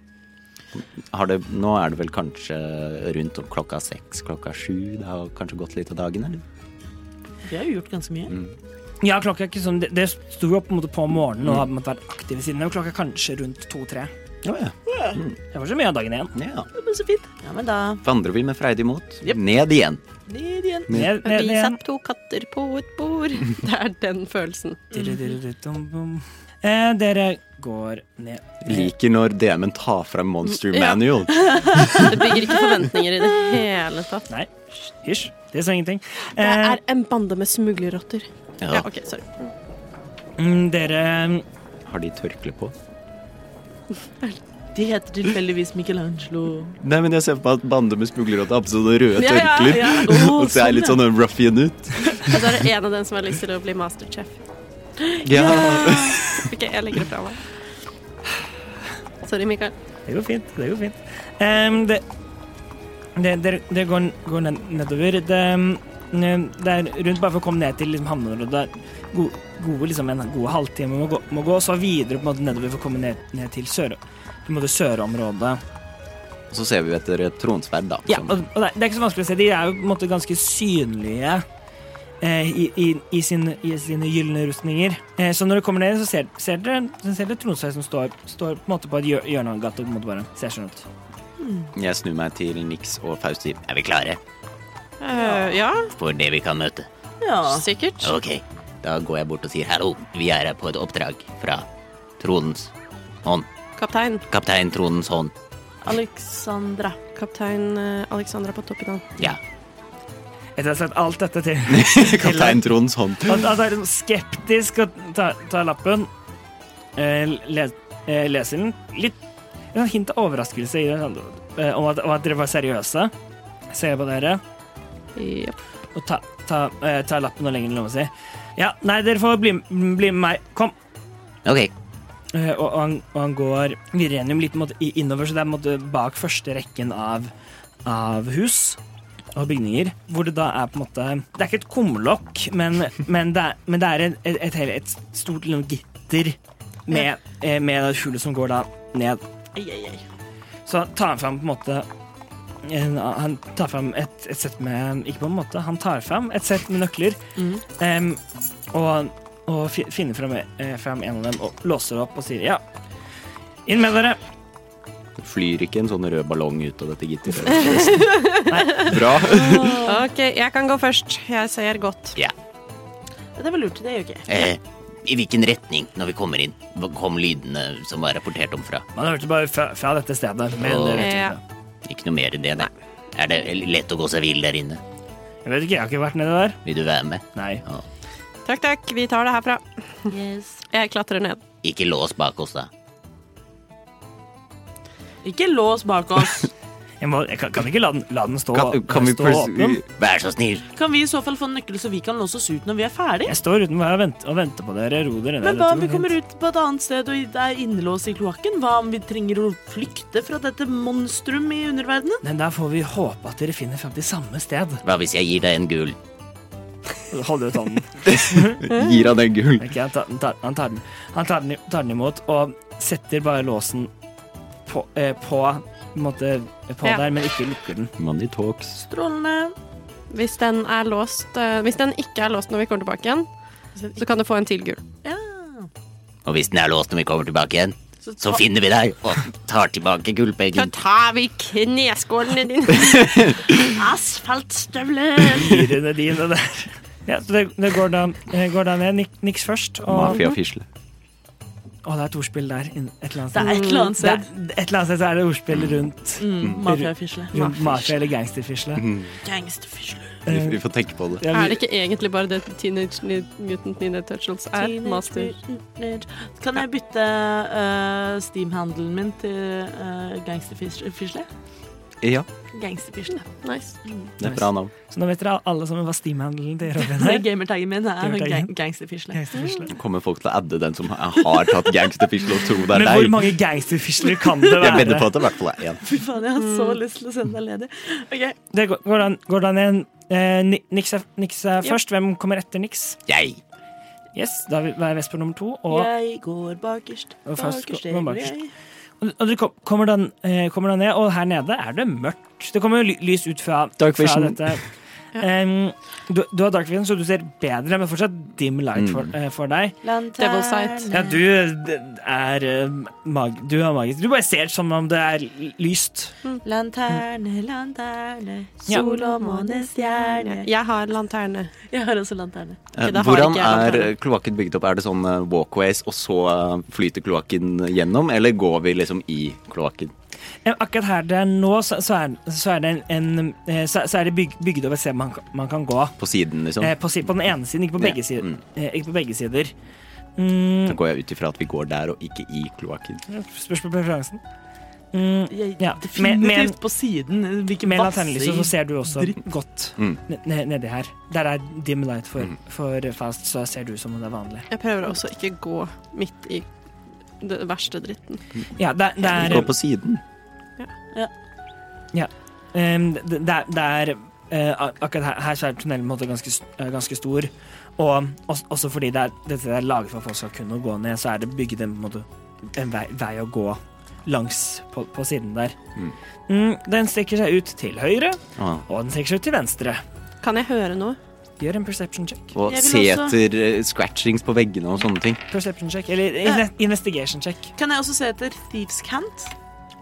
Har det, nå er det vel kanskje rundt om klokka seks, klokka sju. Det har kanskje gått litt av dagen, eller?
Vi har jo gjort ganske mye.
Ja, klokka er ikke sånn Det, det sto jo på en måte på morgenen og har på en måte vært aktive siden. Og klokka er kanskje rundt to-tre.
Å ja.
Det var så mye av dagen igjen.
ja.
Ja, men så fint. Ja, men da
Vandrer vi med freidig mot. Ned igjen.
Ned igjen.
Ned, ned,
Vi
igjen.
satt to katter på et *laughs* bord. Det er den følelsen.
Dirridirridum-bum. Eh, dere går ned.
Liker når DM-en tar frem Monster
Ja.
Manual.
Det bygger ikke forventninger i det hele tatt.
Nei, hysj. Det sa ingenting.
Det
Eh,
er en bande med smuglerrotter. Ja, OK, sorry.
Mm, Dere
Har de tørkle på?
De heter tilfeldigvis Michelangelo.
Nei, men jeg ser på meg at bande med smuglere og tapser og røde
Ja, ja,
tørklær.
ja.
Oh,
Og ser litt sånn ruffian ut.
Og så er det en av dem som har lyst til å bli masterchef.
Ja.
Ok, jeg legger det fra meg. Sorry, Mikael.
Det går fint. Det går fint. Em, det, det, dere, dere går, går ned, nedover. Det, em, det er rundt bare for å komme ned til liksom, havneområdet. Go- Gode, liksom, en god halvtime må gå, må gå, og så videre på en måte nedover for å komme ned, ned til sør, på en måte sørområdet.
Så ser vi etter et tronsverd, da.
Ja,
som-
og, og det, er- det er ikke så vanskelig å se. De er jo på en måte ganske synlige eh, i, i, i, sin, i sine gylne rustninger. Eh, så når dere kommer ned, så ser, ser dere, så ser dere Tronsveig som står, står på en måte på et hjør- hjørne av en gate og på en måte bare ser sånn ut.
Jeg snur meg til Nix og Faust sier
Er vi klare
Eh, ja,
for det vi kan møte?
Ja.
sikkert.
Ok, da går jeg bort og sier hallo. Vi er her på et oppdrag fra Tronens hånd.
Kaptein.
Kaptein Tronens hånd.
Alexandra.
Kaptein eh, Alexandra på toppen av
Ja,
Etter å ha sett alt dette til
Kaptein Trons hånd.
At at han er liksom skeptisk og tar ta lappen. Eh, le, eh, leser den. Litt et sånt hint av overraskelse i det, sånn, eh, om at, om at dere var seriøse. Ser på dere.
Jep.
og ta, ta, eh, ta lappen og legger den i lomma si. Ja, nei, dere får bli, bli med meg. Kom.
ok.
Eh, og, og, han, og han går Virenium litt på en måte i- innover, så det er på en måte bak første rekken av, av hus og bygninger, hvor det da er på en måte Det er ikke et kumlokk, men, men det er, men det er et, et, et, hele- et stort lite gitter med, eh, med hullet som går da ned.
Ei, ei, ei.
Så han tar fram på en måte en, Han tar fram et, et sett med Ikke på en måte, han tar fram et sett med nøkler.
Mm.
em, og og fi- finner fram, eh, fram en av dem og låser opp og sier ja. Inn med dere.
Flyr ikke en sånn rød ballong ut av dette gitteret? Bra.
Ok, jeg kan gå først. Jeg ser godt.
Det var lurt. Det gjør ikke jeg.
Eh, I hvilken retning når vi kommer inn? Hvor kom lydene som var rapportert om fra?
Man hørte bare fra, fra dette stedet. Men det vet
Ja.
jeg, ikke.
Ikke noe mer enn det, nei. Er det lett å gå seg vill der inne?
jeg vet ikke, jeg har ikke vært nede der.
Vil du være med?
Nei.
Å,
Takk, takk. Vi tar det herfra.
Yes.
Jeg klatrer ned.
ikke lås bak oss, da.
Ikke lås bak oss.
Jeg, må, jeg kan, kan ikke la den, la den stå,
Kan, kan vi
stå åpen.
pres-
Vær så snill.
Kan vi i så fall få en nøkkel, så vi kan låse oss ut når vi er ferdig?
Jeg står utenfor her og venter, og venter på dere. Ro dere ned.
Men hva om vi
dette går
kommer
fint.
ut på et annet sted og er innelåst i kloakken? Hva om vi trenger å flykte fra dette monstrum i underverdenen?
Men der får vi håpe at dere finner fram til samme sted.
Hva hvis jeg gir deg en gul?
Hold ut hånden.
Gir han en gull?
Ok, han, tar, han, tar, han, tar den, han tar, den, tar den imot og setter bare låsen på, eh, på, på, en måte, på
Ja.
der, men ikke lukker den.
Money talks.
Strålende.
Hvis den er låst eh, Hvis den ikke er låst når vi kommer tilbake igjen, så kan du få en til gul.
Ja.
Og hvis den er låst når vi kommer tilbake igjen, så finner vi deg og tar tilbake
Da
gullpengen.
tar vi kneskålene dine.
Asfaltstøvler!
Dyrene dine der. *laughs* Ja, så det, det går, da, eh, går da ned. Nik, niks først. Og,
Mafiafisle.
og det er et ordspill der. inn- Et eller annet
Det
sted.
er et eller annet
Det
sted.
er, et eller annet sted så er det ordspill rundt,
Mm, Mafiafisle.
rundt mafia eller gangsterfisle.
Mm-hmm.
Gangsterfisle.
Vi, vi får tenke på det.
Ja,
*laughs* Er
vi,
det ikke egentlig bare det Teenage Ni- Mutant Ninja Turtles er?
Teenage
Master.
Mutant Ninja- Kan jeg bytte uh, Steam-handelen min til eh, gangsterfisle?
Ja,
Gangsterfisle.
Nice.
det er bra navn.
så nå vet dere alle sammen hva steamhandelen til
*laughs*
Robin er.
Gamertaggen min er
Gamertaggen.
gang gangsterfisle.
Gangsterfisle.
Nå Kommer folk til å adde den som har tatt gangsterfisle og tro det er
Men hvor
deg?
mange gangsterfisler kan det
Jeg vedder
være?
på at det i hvert fall er én.
Fy faen, jeg har
Mm.
så lyst til å sende deg ledig. Ok,
Det går, går, da, går da ned. Eh, Ni- niks er, niks er først. Hvem kommer etter niks?
Jeg.
Yes, da vil- er Vesper nummer to. Og,
Jeg går bakerst,
Og fast
bakerst
går- går
går
bakerst.
jeg.
og du kom, kommer, den, eh, kommer den ned, og her nede er det mørkt. Det kommer jo ly- lys ut fra,
Dark
fra
vision.
dette. Em, du, du har dark vision, så du ser bedre, men fortsatt dim light
Mm.
for, eh, for deg.
Devil sight.
Ja, du d- er eh, mag, Du er magisk. Du bare ser som om det er l- lyst.
Lanterne, lanterne,
Ja.
sol og måne, stjerne.
Jeg har lanterne.
Jeg har også lanterne.
Ok, da har
Eh, Hvordan
ikke jeg
er
lanterne.
kloakken bygd opp? Er det sånn eh, walkways, og så eh, flyter kloakken gjennom, eller går vi liksom i kloakken?
Eh, Akkurat her det er nå, så, så, er, så er det en, en eh, så, så er det byg, bygd over et sted man, kan- man kan gå.
På siden, liksom?
Eh, på, si- på den ene siden, ikke på
Ja, Mm.
begge, sider, eh, ikke på begge sider.
Da
Mm,
går jeg ut ifra at vi går der og ikke i kloakken.
spørs på preferansen. Mm,
Jeg,
Ja, men- men-
Definitivt på siden. eh, Hvilken
med laternlyset så ser du også
dritt.
godt
Mm.
ne- ne- nedi her. Der er dim light for, for fast, så ser du som om det er vanlig.
Jeg prøver også ikke gå midt i det verste dritten.
Ja, det, det er
Gå på siden.
Um, det, det er- det er eh, ak- Akkurat her, her så er tunnelen på en måte ganske, s- eh, ganske stor. Og også, også fordi det er, dette er laget for at folk skal kunne gå ned, så er det bygget en, på en, måte, en vei, vei å gå langs på, på siden der.
Mm.
Mm, den strekker seg ut til høyre,
Ah.
og den strekker seg ut til venstre.
Kan jeg høre noe?
Gjør en perception check.
Og
Jeg vil
se
også-
etter eh, scratchings på veggene og sånne ting.
Perception check, Eller inve- investigation check.
Kan jeg også se etter Thieves Cant?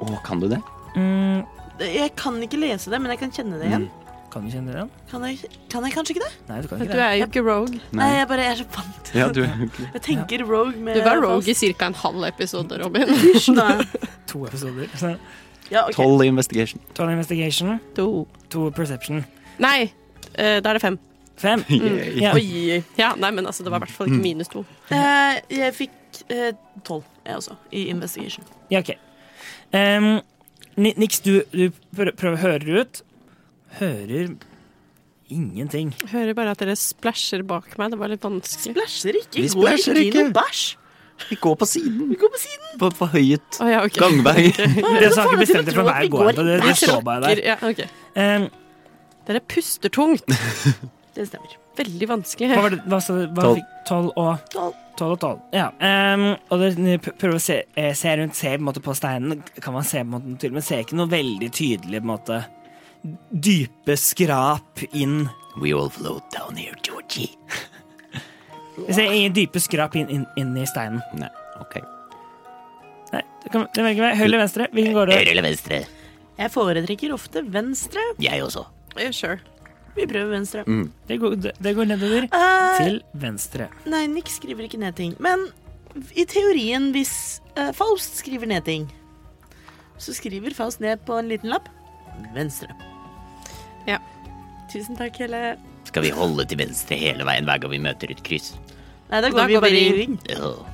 Å, kan du det?
Mm,
Jeg kan ikke lese det, men jeg kan kjenne det igjen.
kan du kjenne den?
Kan, jeg, kan jeg kanskje ikke det?
Nei, du kan
Du
ikke det.
er jo ikke rogue.
Nei,
Nei.
jeg bare er så vant.
Ja, du
Jeg tenker rogue med
Du var rogue i ca. en halv episode, Robin.
Hysj,
*laughs*
nå.
To episoder. *laughs* Så,
Ja, ok.
*laughs* Tolv i investigation.
Tolv investigation,
*laughs* To.
to perception.
Nei, eh, da er det fem.
Fem.
*laughs* Yeah.
Ja.
Oi. Ja, nei, men altså, det var i hvert fall ikke minus to.
Eh, jeg fikk eh, tolv, jeg også, i investigation.
Ja, OK. Ehm, Ni- Nix, du, du prøver, prøver hører ut. Hører ingenting.
Jeg hører bare at dere splæsjer bak meg. Det var litt vanskelig.
Splæsjer ikke.
Vi
Vi går
splæsjer
ikke i
ikke.
noe bæsj.
Vi går på siden.
Vi går på siden.
På forhøyet
Å ja, ok.
gangvei.
Dere har ikke bestemt
til å
dere for
tro
hver
at vi
gård.
går
og Det, det
Dere
står bare der.
rocker- Ja, ok.
Ehm,
Dere puster tungt.
Det stemmer.
Veldig
hva
*laughs* vanskelig.
var det? Hva, sa du? hva
Tolv.
fikk tolv og
Tolv.
Tolv og tolv. Ja. ehm, og dere p- prøver å se, eh, se rundt, se på, en måte, på steinen. Kan man se på en måte til, men ser ikke noe veldig tydelig på en måte dype skrap inn.
*laughs* We all float down here, Georgie.
Vi ser ingen dype skrap inn, inn, inn i steinen.
Nei, ok.
Nei, det kan, det velger vi. Høyre eller venstre? Hvilken går det?
Høyre eller venstre?
Jeg foretrekker ofte venstre.
Jeg også.
Ja, sure.
Vi prøver venstre.
Det går, det, det går nedover
Eh,
Mm. til venstre.
Nei, Nick skriver ikke ned ting. Men i teorien, hvis eh, Faust skriver ned ting, så skriver Faust ned på en liten lapp venstre.
Ja.
Tusen takk, Helle.
Skal vi holde til venstre hele veien hver gang vi møter et kryss?
Nei, da går
Da
vi
går vi
bare i
i-
ring.
Åh.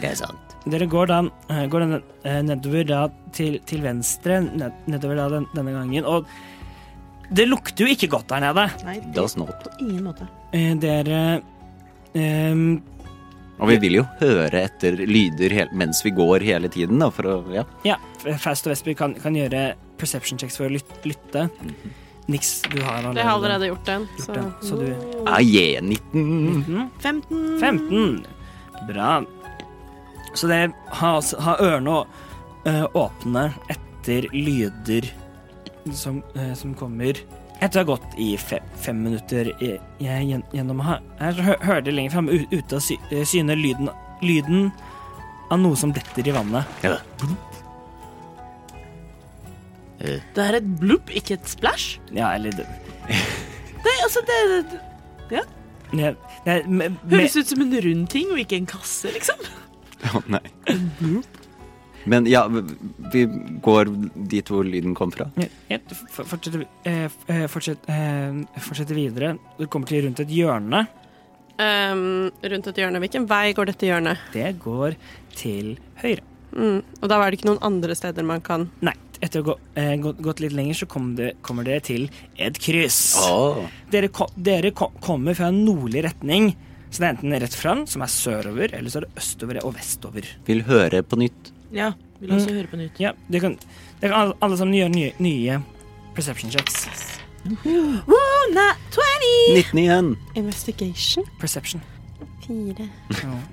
Det er sant.
Dere går da eh, går den, eh, nedover da til, til venstre, ned, nedover da den, denne gangen, og det lukter jo ikke godt der nede.
Nei, det
Does not.
på ingen måte.
Eh, Dere ehm,
Og vi vil jo høre etter lyder hel- mens vi går hele tiden, da, for å Ja.
Ja, Faust og Vesper kan, kan gjøre perception checks for å lyt- lytte. Niks, du har
Det har jeg allerede gjort den. Så.
den, så du
Ah, yeah, 19.
15.
15. Bra. Så det har, altså- har ørene å- eh, åpne etter lyder som, eh, som kommer. Etter å ha gått i fe, fem minutter i, jeg, gjen- gjennom her, her så hø- hører dere lenger fram u- ute av sy, eh, syne lyden, lyden av noe som detter i vannet.
Det er et blupp, ikke et splash.
Ja, eller det,
Nei, altså, det, det
det, det med, med,
høres ut som en rund ting og ikke en kasse, liksom.
Å, nei. Men ja, v- vi går dit hvor lyden kom fra.
Ja, ja, du f- fortsetter, eh, f- eh, fortsett, eh, fortsetter videre. Du kommer til rundt et hjørne.
Ehm, rundt et hjørne. Hvilken vei går dette hjørnet?
Det går til høyre.
Mm. Og da er det ikke noen andre steder man kan
Nei, etter å gå, eh, gå, gått litt lenger, så kom det, kommer dere til et kryss. Dere, ko, dere ko, kommer fra en nordlig retning. Så det er enten rett fram, som er sørover, eller så er det østover og vestover.
Vil høre på nytt.
Ja, vil
Mm.
også høre på nytt.
Ja, dere kan, dere kan alle, alle sammen gjøre nye, nye perception checks.
Wow, not 20!
19 igjen.
Investigation?
Perception.
Fire.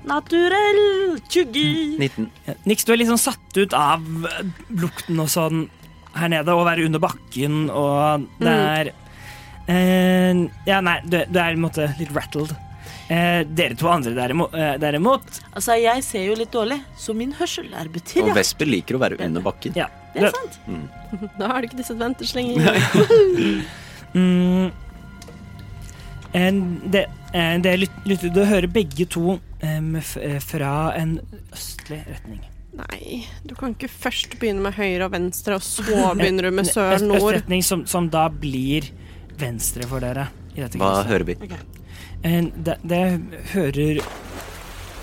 Naturell 20.
19.
Ja, Nix, du er litt sånn satt ut av eh, lukten og sånn her nede, og være under bakken,
Mm.
og det er eh, Ja, nei, du, du er på en måte litt rattled. Eh, dere to andre derimo, eh, derimot
Altså, jeg ser jo litt dårlig, så min hørsel er
Og
betyr, ja.
Vesper liker å være under bakken.
Ja.
Det er
du-
sant.
*laughs* Da har du ikke disadvantage lenger.
Mm. En- det, eh, det lyt- lytter du hører begge to em, f eh, fra en østlig retning.
Nei, du kan ikke først begynne med høyre og venstre, og så begynner du med sør
Øst-
nord.
Østretning som, som da blir venstre for dere. i dette
Hva
gresset.
hører vi?
Eh, Det, det hører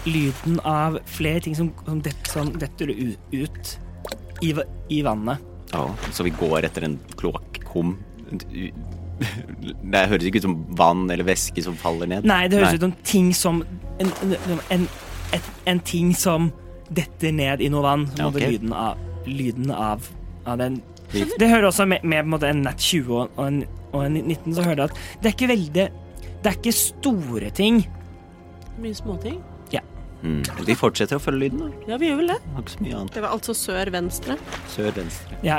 lyden av flere ting som, som, det, som detter u- ut i, va- i vannet.
Ja, så vi går etter en kloakkum. Det høres ikke ut som vann eller væske som faller ned.
Nei, det høres ut som ting som en, en, en, et, en ting som detter ned i noe vann. Som
Ja,
måtte
ok.
lyden av, lyden av, av den. Det hører også med, med på en, måte en nat 20 og og en, og en 19, så hører du at det er ikke veldig Det er ikke store ting.
Mye småting.
Mm. Vi fortsetter å følge lyden, da.
Ja, vi gjør vel det.
Har ikke så mye annet.
Det var altså sør venstre.
Sør-venstre.
Ja,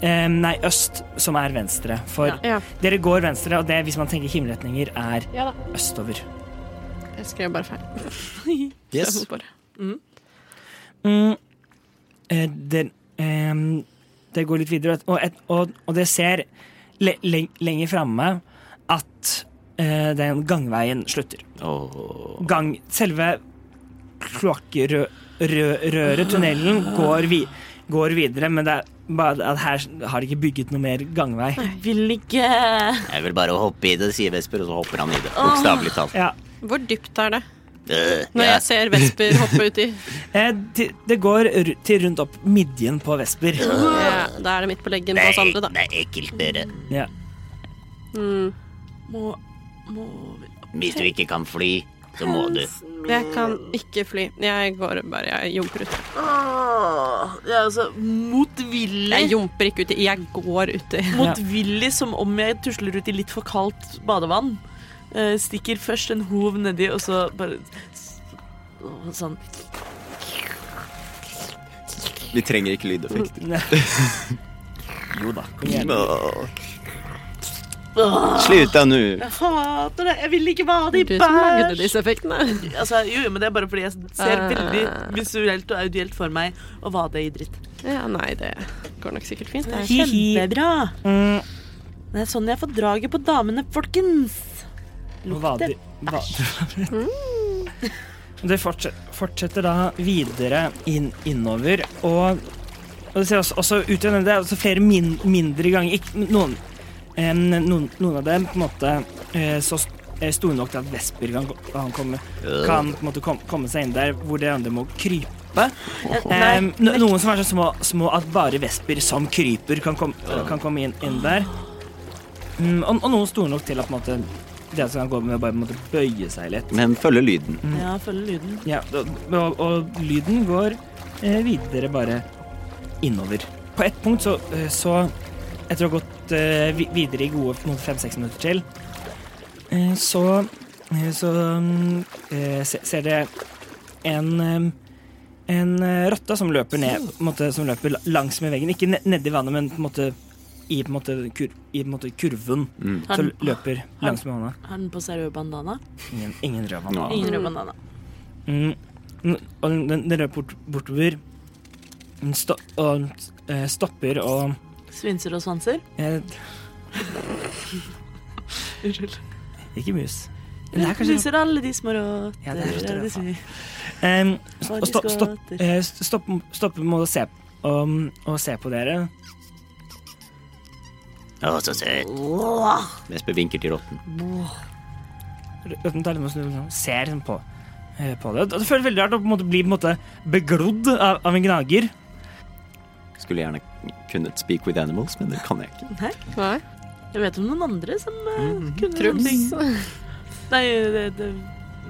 eh, nei, øst, som er venstre. For
Ja.
dere går venstre, og det, hvis man tenker himmelretninger, er
Ja da.
østover.
Jeg skrev bare feil. *laughs* Jeg
Yes.
må bare-
Mm. Eh, det, ehm, det går litt videre, og, et, og, og det ser le, le, lenger framme at eh, den gangveien slutter.
Åh.
Gang, selve kloakkrøret, tunnelen, går, vi, går videre, men det er bare at her har de ikke bygget noe mer gangvei.
Vil ikke
Jeg vil bare hoppe i det, sier Vesper, og så hopper han i det. Bokstavelig talt.
Ja.
Hvor dypt er det?
Øh,
Når
ja.
jeg ser Vesper hoppe *laughs* uti.
Eh, det, det går ru- til rundt opp midjen på Vesper.
Ja, da er det midt på leggen på oss andre, da.
Nei, det er ekkelt, dere.
Ja.
Mm.
Må, må vi
Hvis du ikke kan fly, så må du.
Jeg kan ikke fly. Jeg går bare Jeg jumper uti.
Åh, Det er altså
Jeg
motvillig.
jumper ikke uti, jeg går uti.
Motvillig som om jeg tusler ut i litt for kaldt badevann. Eh, stikker først en hov nedi, og så bare s- åh, Sånn.
Vi trenger ikke
*laughs*
lydeffekter.
Jo da, kom igjen.
Åh.
Åh,
Slutt da nå!
jeg hater det! Jeg vil ikke bade i
Du som lagde
bæsj!
disse effektene.
Altså, jo, jo, men det er bare fordi jeg ser
Ah.
veldig visuelt og audielt for meg å vade i dritt.
Ja, nei, det går nok sikkert fint.
Det er
Det.
Hihi.
kjempebra.
Mm,
Det er sånn jeg får draget på damene, folkens.
Vader, vader. Mm. Det fortsetter, fortsetter da videre inn, innover, og, og det ser også, også ut til det er også flere min, mindre ganger. Ikke, noen, eh, noen, noen av dem på en måte eh, så st- eh, store nok til at Vesper kan, gå- kan, komme, kan på en måte kom, komme seg inn der, hvor de andre må krype. Eh, no- noen som er så små, små at bare vesper som kryper, kan, kom, kan komme inn, inn der. Mm, og, og noen store nok til at på en måte, det som kan gå med å bare på en måte, bøye seg litt.
Men følge lyden.
Ja, følg lyden.
Ja, og, og, og lyden går eh, videre bare innover. På ett punkt så, eh, så etter å ha gått eh, vi- videre i gode på en måte fem-seks minutter til, eh, så, eh, så mm, eh, se, ser dere en eh, en eh, rotte som løper ned, på en måte, som løper la- langs med veggen. Ikke ne- nedi vannet, men på en måte i, på en måte, kur, i på en måte kurven.
Mm.
Så
Har den,
løper langs med vannet.
har den på seg rød bandana?
Ingen, ingen rød vann.
Ja.
Ingen rød bandana.
Mm. N- Og den, den, den løper bort, bortover. Den sto, og, eh, stopper og
Svinser og svanser?
eh,
Unnskyld.
Ikke mus. Men det er kanskje
Svinser alle de små råter.
Ja, det er rotter,
alle de små-
Em,
små
og stopp, stopp,
diskoter.
eh, st- stopp, stopp med å se, um, å se på dere.
Å, så søt.
Vesper vinker til rotten.
Røtten tar litt med å snu liksom, ser liksom på, eh, på det. Og Det føles veldig rart å på en måte bli på en måte beglodd av, av en gnager.
Skulle gjerne kunnet speak with animals, men det kan jeg ikke.
Nei.
Jeg vet om noen andre som eh,
Mm.
kunne noen ting.
Truls.
Nei, det, det,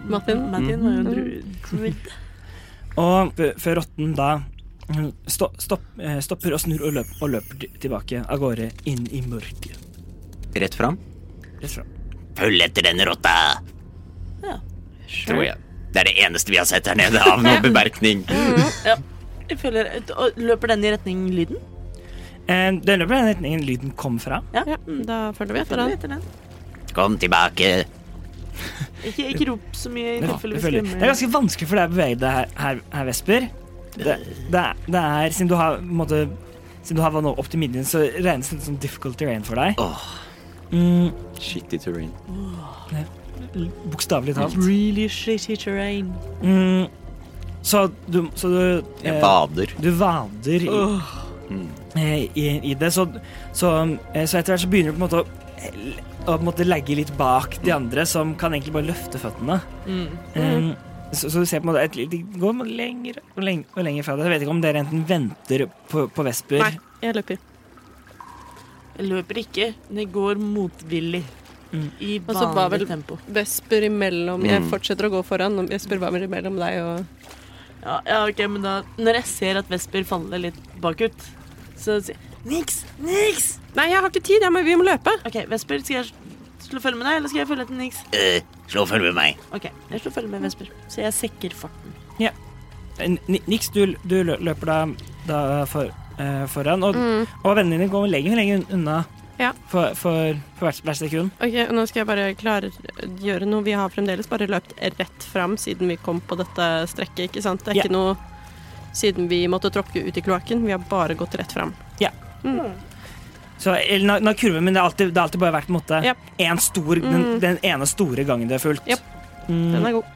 Martin. Mm.
Martin var jo en druid.
Og f- før rotten da mm, sto, stopp, eh, stopper og snur og, løp, og løper til- tilbake av gårde inn i mørket.
Rett fram?
Rett fram.
Følg etter denne rotta.
Ja.
Tror jeg. Det er det eneste vi har sett her nede av noen bemerkning.
Jeg føler, og løper den i retning lyden?
Eh, Den løper i den retningen lyden kom fra.
Ja, da følger vi etter
Følger vi
den.
etter den?
Kom tilbake.
Ikke, ikke rop så mye i
Ja,
tilfelle vi
selvfølgelig. det er
skremmer.
ganske vanskelig for deg å bevege deg her, her, her Vesper. Det, det, er, det er, siden du har, på en måte, siden du har vannet opp til midjen, så regnes det som difficult terrain for deg. Mm,
Shitty terrain.
Bokstavelig talt.
Really shitty terrain.
Mm, så du, så du
Jeg
eh,
bader. Mm.
Du vader i, eh, i, i det, så, så, eh, så etter hvert så begynner du på en måte å eh, og på en måte legge litt bak de andre, som kan egentlig bare løfte føttene.
Mm.
Um, så, så du ser på en måte et, De går lenger og lenger, og lenger fra deg. Jeg vet ikke om dere enten venter på, på vesper.
Nei, jeg løper.
Jeg løper ikke, men jeg går motvillig.
Mm.
I
Og så
vanlig
var vel-
tempo.
Vesper imellom Jeg fortsetter å gå foran. og Vesper var vel imellom deg og
Ja, ja, ok, men da Når jeg ser at Vesper faller litt bakut, så sier jeg niks, niks.
Nei, jeg har ikke tid! Jeg må, vi må løpe!
OK, Vesper, skal jeg slå følge med deg, eller skal jeg følge etter niks?
Eh, slå og følg med meg.
OK, jeg slår følge med Vesper, så jeg sekker farten.
N- Eh, Nix, du, du lø- løper da, da for, eh, foran, og, og vennene dine går lenger og lenger un- unna
Mm. Ja.
for, for, for hvert, hvert sekund.
Ok, Nå skal jeg bare klare gjøre noe. Vi har fremdeles bare løpt rett fram siden vi kom på dette strekket, ikke sant? Det er
Ja.
ikke noe siden vi måtte tråkke ut i kloakken. Vi har bare gått rett fram.
Så eller, na- na- kurven min, det har alltid, det har alltid bare vært på en måte,
Japp. Mm.
en stor, den, den ene store gangen det er fullt.
Japp.
Mm.
Den er god.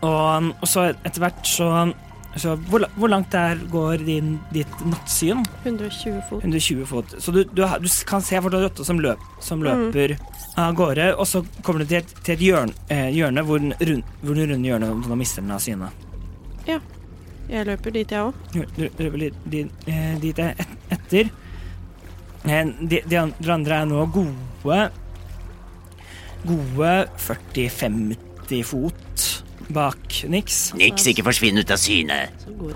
Og, um, og så etter hvert så, um, så hvor, la- hvor langt der går din, ditt nattsyn?
120 fot.
120 fot. Så du, du, har- du kan se for deg rotta som, løp, som løper av gårde, og så kommer du til et, til et hjørne, eh, hjørne hvor den rund- hvor den runde hjørnet om du da mister den av syne.
Jeg løper dit, jeg òg.
Du du løper litt dit, eh, dit et, etter. Eh, De, de andre andre er nå gode Gode 40-50 fot bak Nix.
Niks, ikke forsvinn ut av syne.
Mm.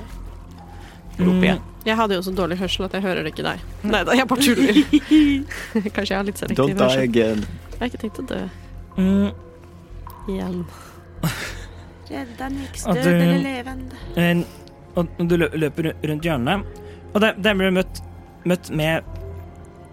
roper jeg.
Jeg hadde jo så dårlig hørsel at jeg hører det ikke deg. Nei da, jeg bare tuller. Kanskje jeg har litt selektiv
Don't die
hørsel.
again.
Jeg har ikke tenkt å dø
Mm.
igjen.
Redda niks,
Og du-
levende.
En- og og du lø- løper ru- rundt hjørnet, og der, der blir du møtt, møtt med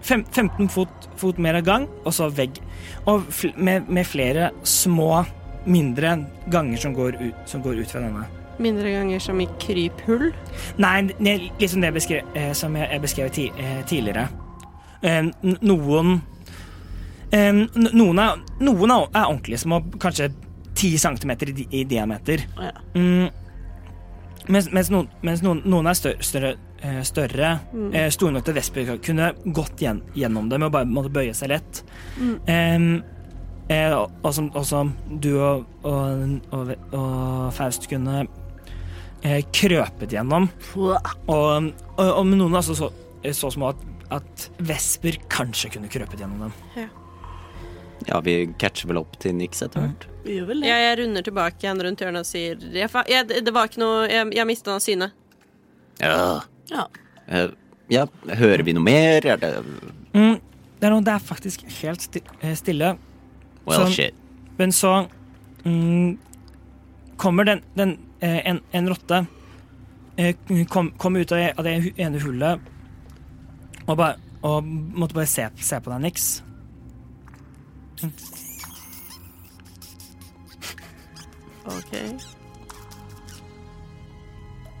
fem, 15 fot, fot mer av gang, og så vegg. Og fl med, med flere små, mindre ganger som går ut, som går ut fra denne.
Mindre ganger som i kryphull.
Nei, ne- litt som det jeg beskrev, eh, som jeg, jeg beskrev ti, eh, tidligere. Eh, n- noen eh, n- noen, er, noen er er ordentlig små, kanskje 10 cm i, di- i diameter.
Ja.
Mm. Mens, mens, noen, mens noen, noen er større, større, eh, større eh, store nok til vesper kunne gått gjen, gjennom det med å bare måtte bøye seg lett. Eh, eh, og, og, som, og som du og, og, og, og Faust kunne eh, krøpet gjennom. Og, og, og noen er altså så, så små at, at vesper kanskje kunne krøpet gjennom dem.
Ja, vi catcher vel opp til Nix etter hvert.
Mm.
Vi gjør vel det.
Jeg, jeg runder tilbake igjen rundt hjørnet og sier jeg, fa- jeg, Det var ikke noe Jeg, jeg mista den av syne.
Ja.
Ja.
Eh, ja, hører vi noe mer? Er det
Mm, det, er noe, det er faktisk helt sti- eh, stille,
Well,
Sånn.
shit.
men så mm, kommer den, den eh, en, en rotte eh, kom, kom ut av det, av det hu- ene hullet og, bare, og måtte bare se, se på deg, Nix.
OK.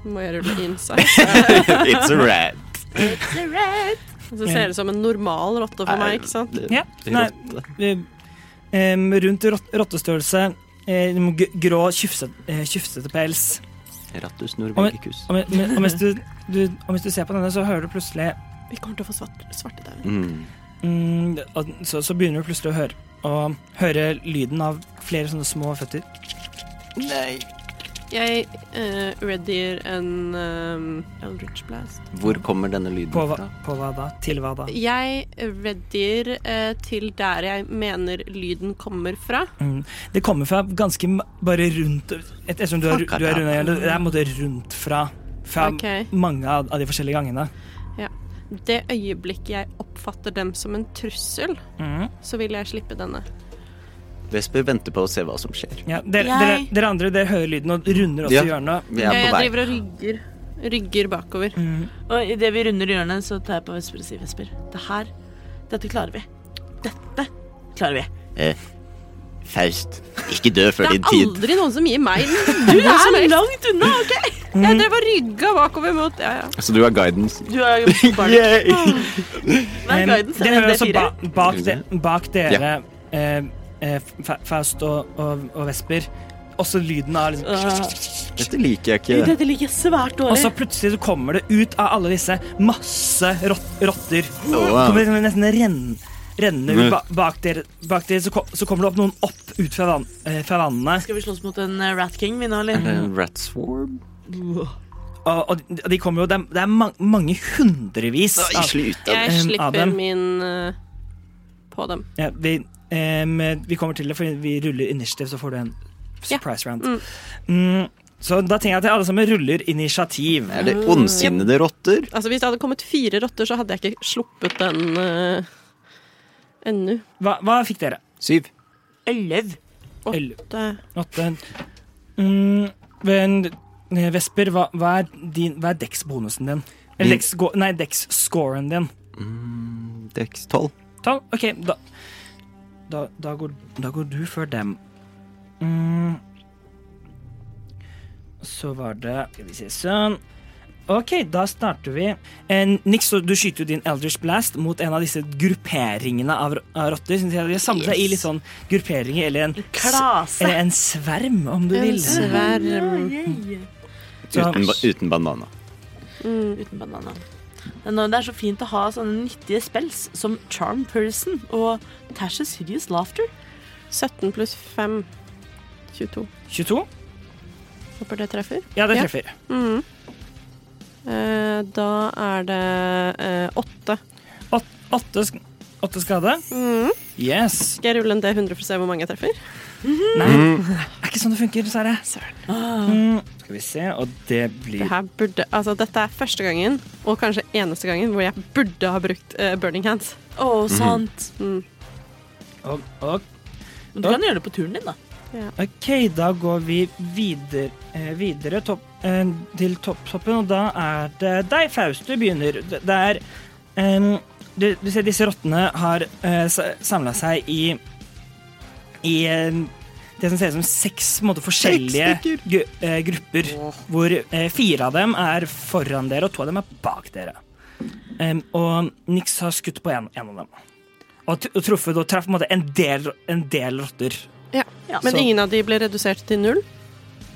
Må jeg rulle insight?
*laughs* It's a rat.
Så ser det ut som en normal rotte for meg, ikke sant?
Ja, nei, eh, em, rundt rot rottestørrelse, eh, g- grå, tjufset- eh, tjufsete pels.
Rattus norvegicus.
Og, men- men- og, mens du, du, og mens du ser på denne, så hører du plutselig
Vi kommer til å få svart, svartedauden.
Mm.
mm, og så, så begynner du plutselig å høre, å høre lyden av flere sånne små føtter.
Jeg uh, readier en eh, Eldritch Blast.
Hvor kommer denne lyden
På hva,
fra?
på hva da? Til hva da?
Jeg readier eh, til der jeg mener lyden kommer fra.
Mm. Det kommer fra ganske ma- bare rundt et- Ettersom du har, ru- du har runda igjen, det er på en måte rundt fra, fra
Ok.
mange av, av de forskjellige gangene.
Det øyeblikket jeg oppfatter dem som en trussel,
Mhm.
så vil jeg slippe denne.
Vesper venter på å se hva som skjer.
Ja, dere, dere,
Jeg-
dere andre dere hører lyden og runder også
Ja.
hjørnet.
Vi er
jeg
på vei. Mm.
driver og rygger, rygger bakover.
Og idet vi runder hjørnet, så tar jeg på Vesper og sier Vesper, det her Dette klarer vi. Dette klarer vi.
Faust, ikke dø før
Det
din
er
tid.
aldri noen som gir meg den.
Du er
*laughs*
langt unna, OK?
Jeg drev og rygga bakover mot Ja, ja.
Så du har guidance?
Du er jo barn.
*laughs*
Hver
Um,
guidance
det
er en
hører også
D4.
ba bak, de bak dere, eh, eh, Fa- Faust og, og, og Vesper, også lyden av liksom
Ah,
Dette liker jeg
Gud,
ikke.
dette liker jeg svært
Og så
dårlig.
plutselig så kommer det ut av alle disse masse rot rotter.
Åh.
Det kommer liksom nesten renn rennende ut ba bak dere. Bak dere så, ko så kommer det opp noen opp ut fra, vann eh, fra vannet.
Skal vi slåss mot en eh, Rat King, vi nå, eller?
Rat swarm?
Og, og de- de kommer jo Det er, det er ma mange hundrevis
Nei,
av
slutt.
Jeg
Em,
slipper
Adam.
min eh, på dem.
ja, vi, em, vi kommer til det, for vi ruller initiativ, så får du en
Ja.
surprise round. Mm, så da tenker jeg at alle sammen ruller initiativ.
Er det ondsinnede rotter?
Altså, hvis det hadde kommet fire rotter, så hadde jeg ikke sluppet den eh, ennå.
Hva, hva fikk dere?
Syv.
Elleve.
Elleve.
Det-
Åtte. Mm, men eh, Vesper, hva, hva er, din- hva er dex-bonusen din?
Min-
Eller dex, nei, dex-scoren din.
Dex tolv.
Ta, OK, da da, da, går, da går du før dem. Mm. Så var det Skal vi se sånn. OK, da starter vi. Eh, Nix, så du skyter jo din Elders Blast mot en av disse grupperingene av, ro- av rotter. Sånn at De har samlet seg i litt sånn grupperinger, eller en, s-
Klase.
eller en sverm, om du vil.
Sverm.
Så-
Uten, ba- uten bandana.
Mm, Uten banana. Men nå- det er så fint å ha sånne nyttige spells som Charm Person og Tasha's Hideous Laughter.
17 pluss 5. 22.
22?
Håper det treffer.
Ja, det
Ja.
treffer.
Mhm. Eh, da er det eh, åtte.
Åt, åtte, sk- åtte skade. Yes.
Skal jeg rulle en D100 for å se hvor mange jeg treffer?
Nei, det er ikke sånn det funker, dessverre. Mm. Skal vi se, og det
Det
blir
her burde, altså, dette er første gangen, og kanskje eneste gangen, hvor jeg burde ha brukt eh, burning hands.
Å,
Mhm.
sant.
og, og,
Men du kan gjøre det på turen din, da.
OK, da går vi videre, eh, videre topp, eh, til topptoppen, og da er det deg, Faust, du begynner. Det, det er em, du, du ser disse rottene har eh, samla seg i i em, det som ser ut som seks på en måte, forskjellige gu, eh, grupper, hvor eh, fire av dem er foran dere, og to av dem er bak dere. Em, og Nix har skutt på en, en av dem. Og, tr- og truffet og traff på en, måte, en, del, en del rotter.
Men
Så-
ingen av de ble redusert til null.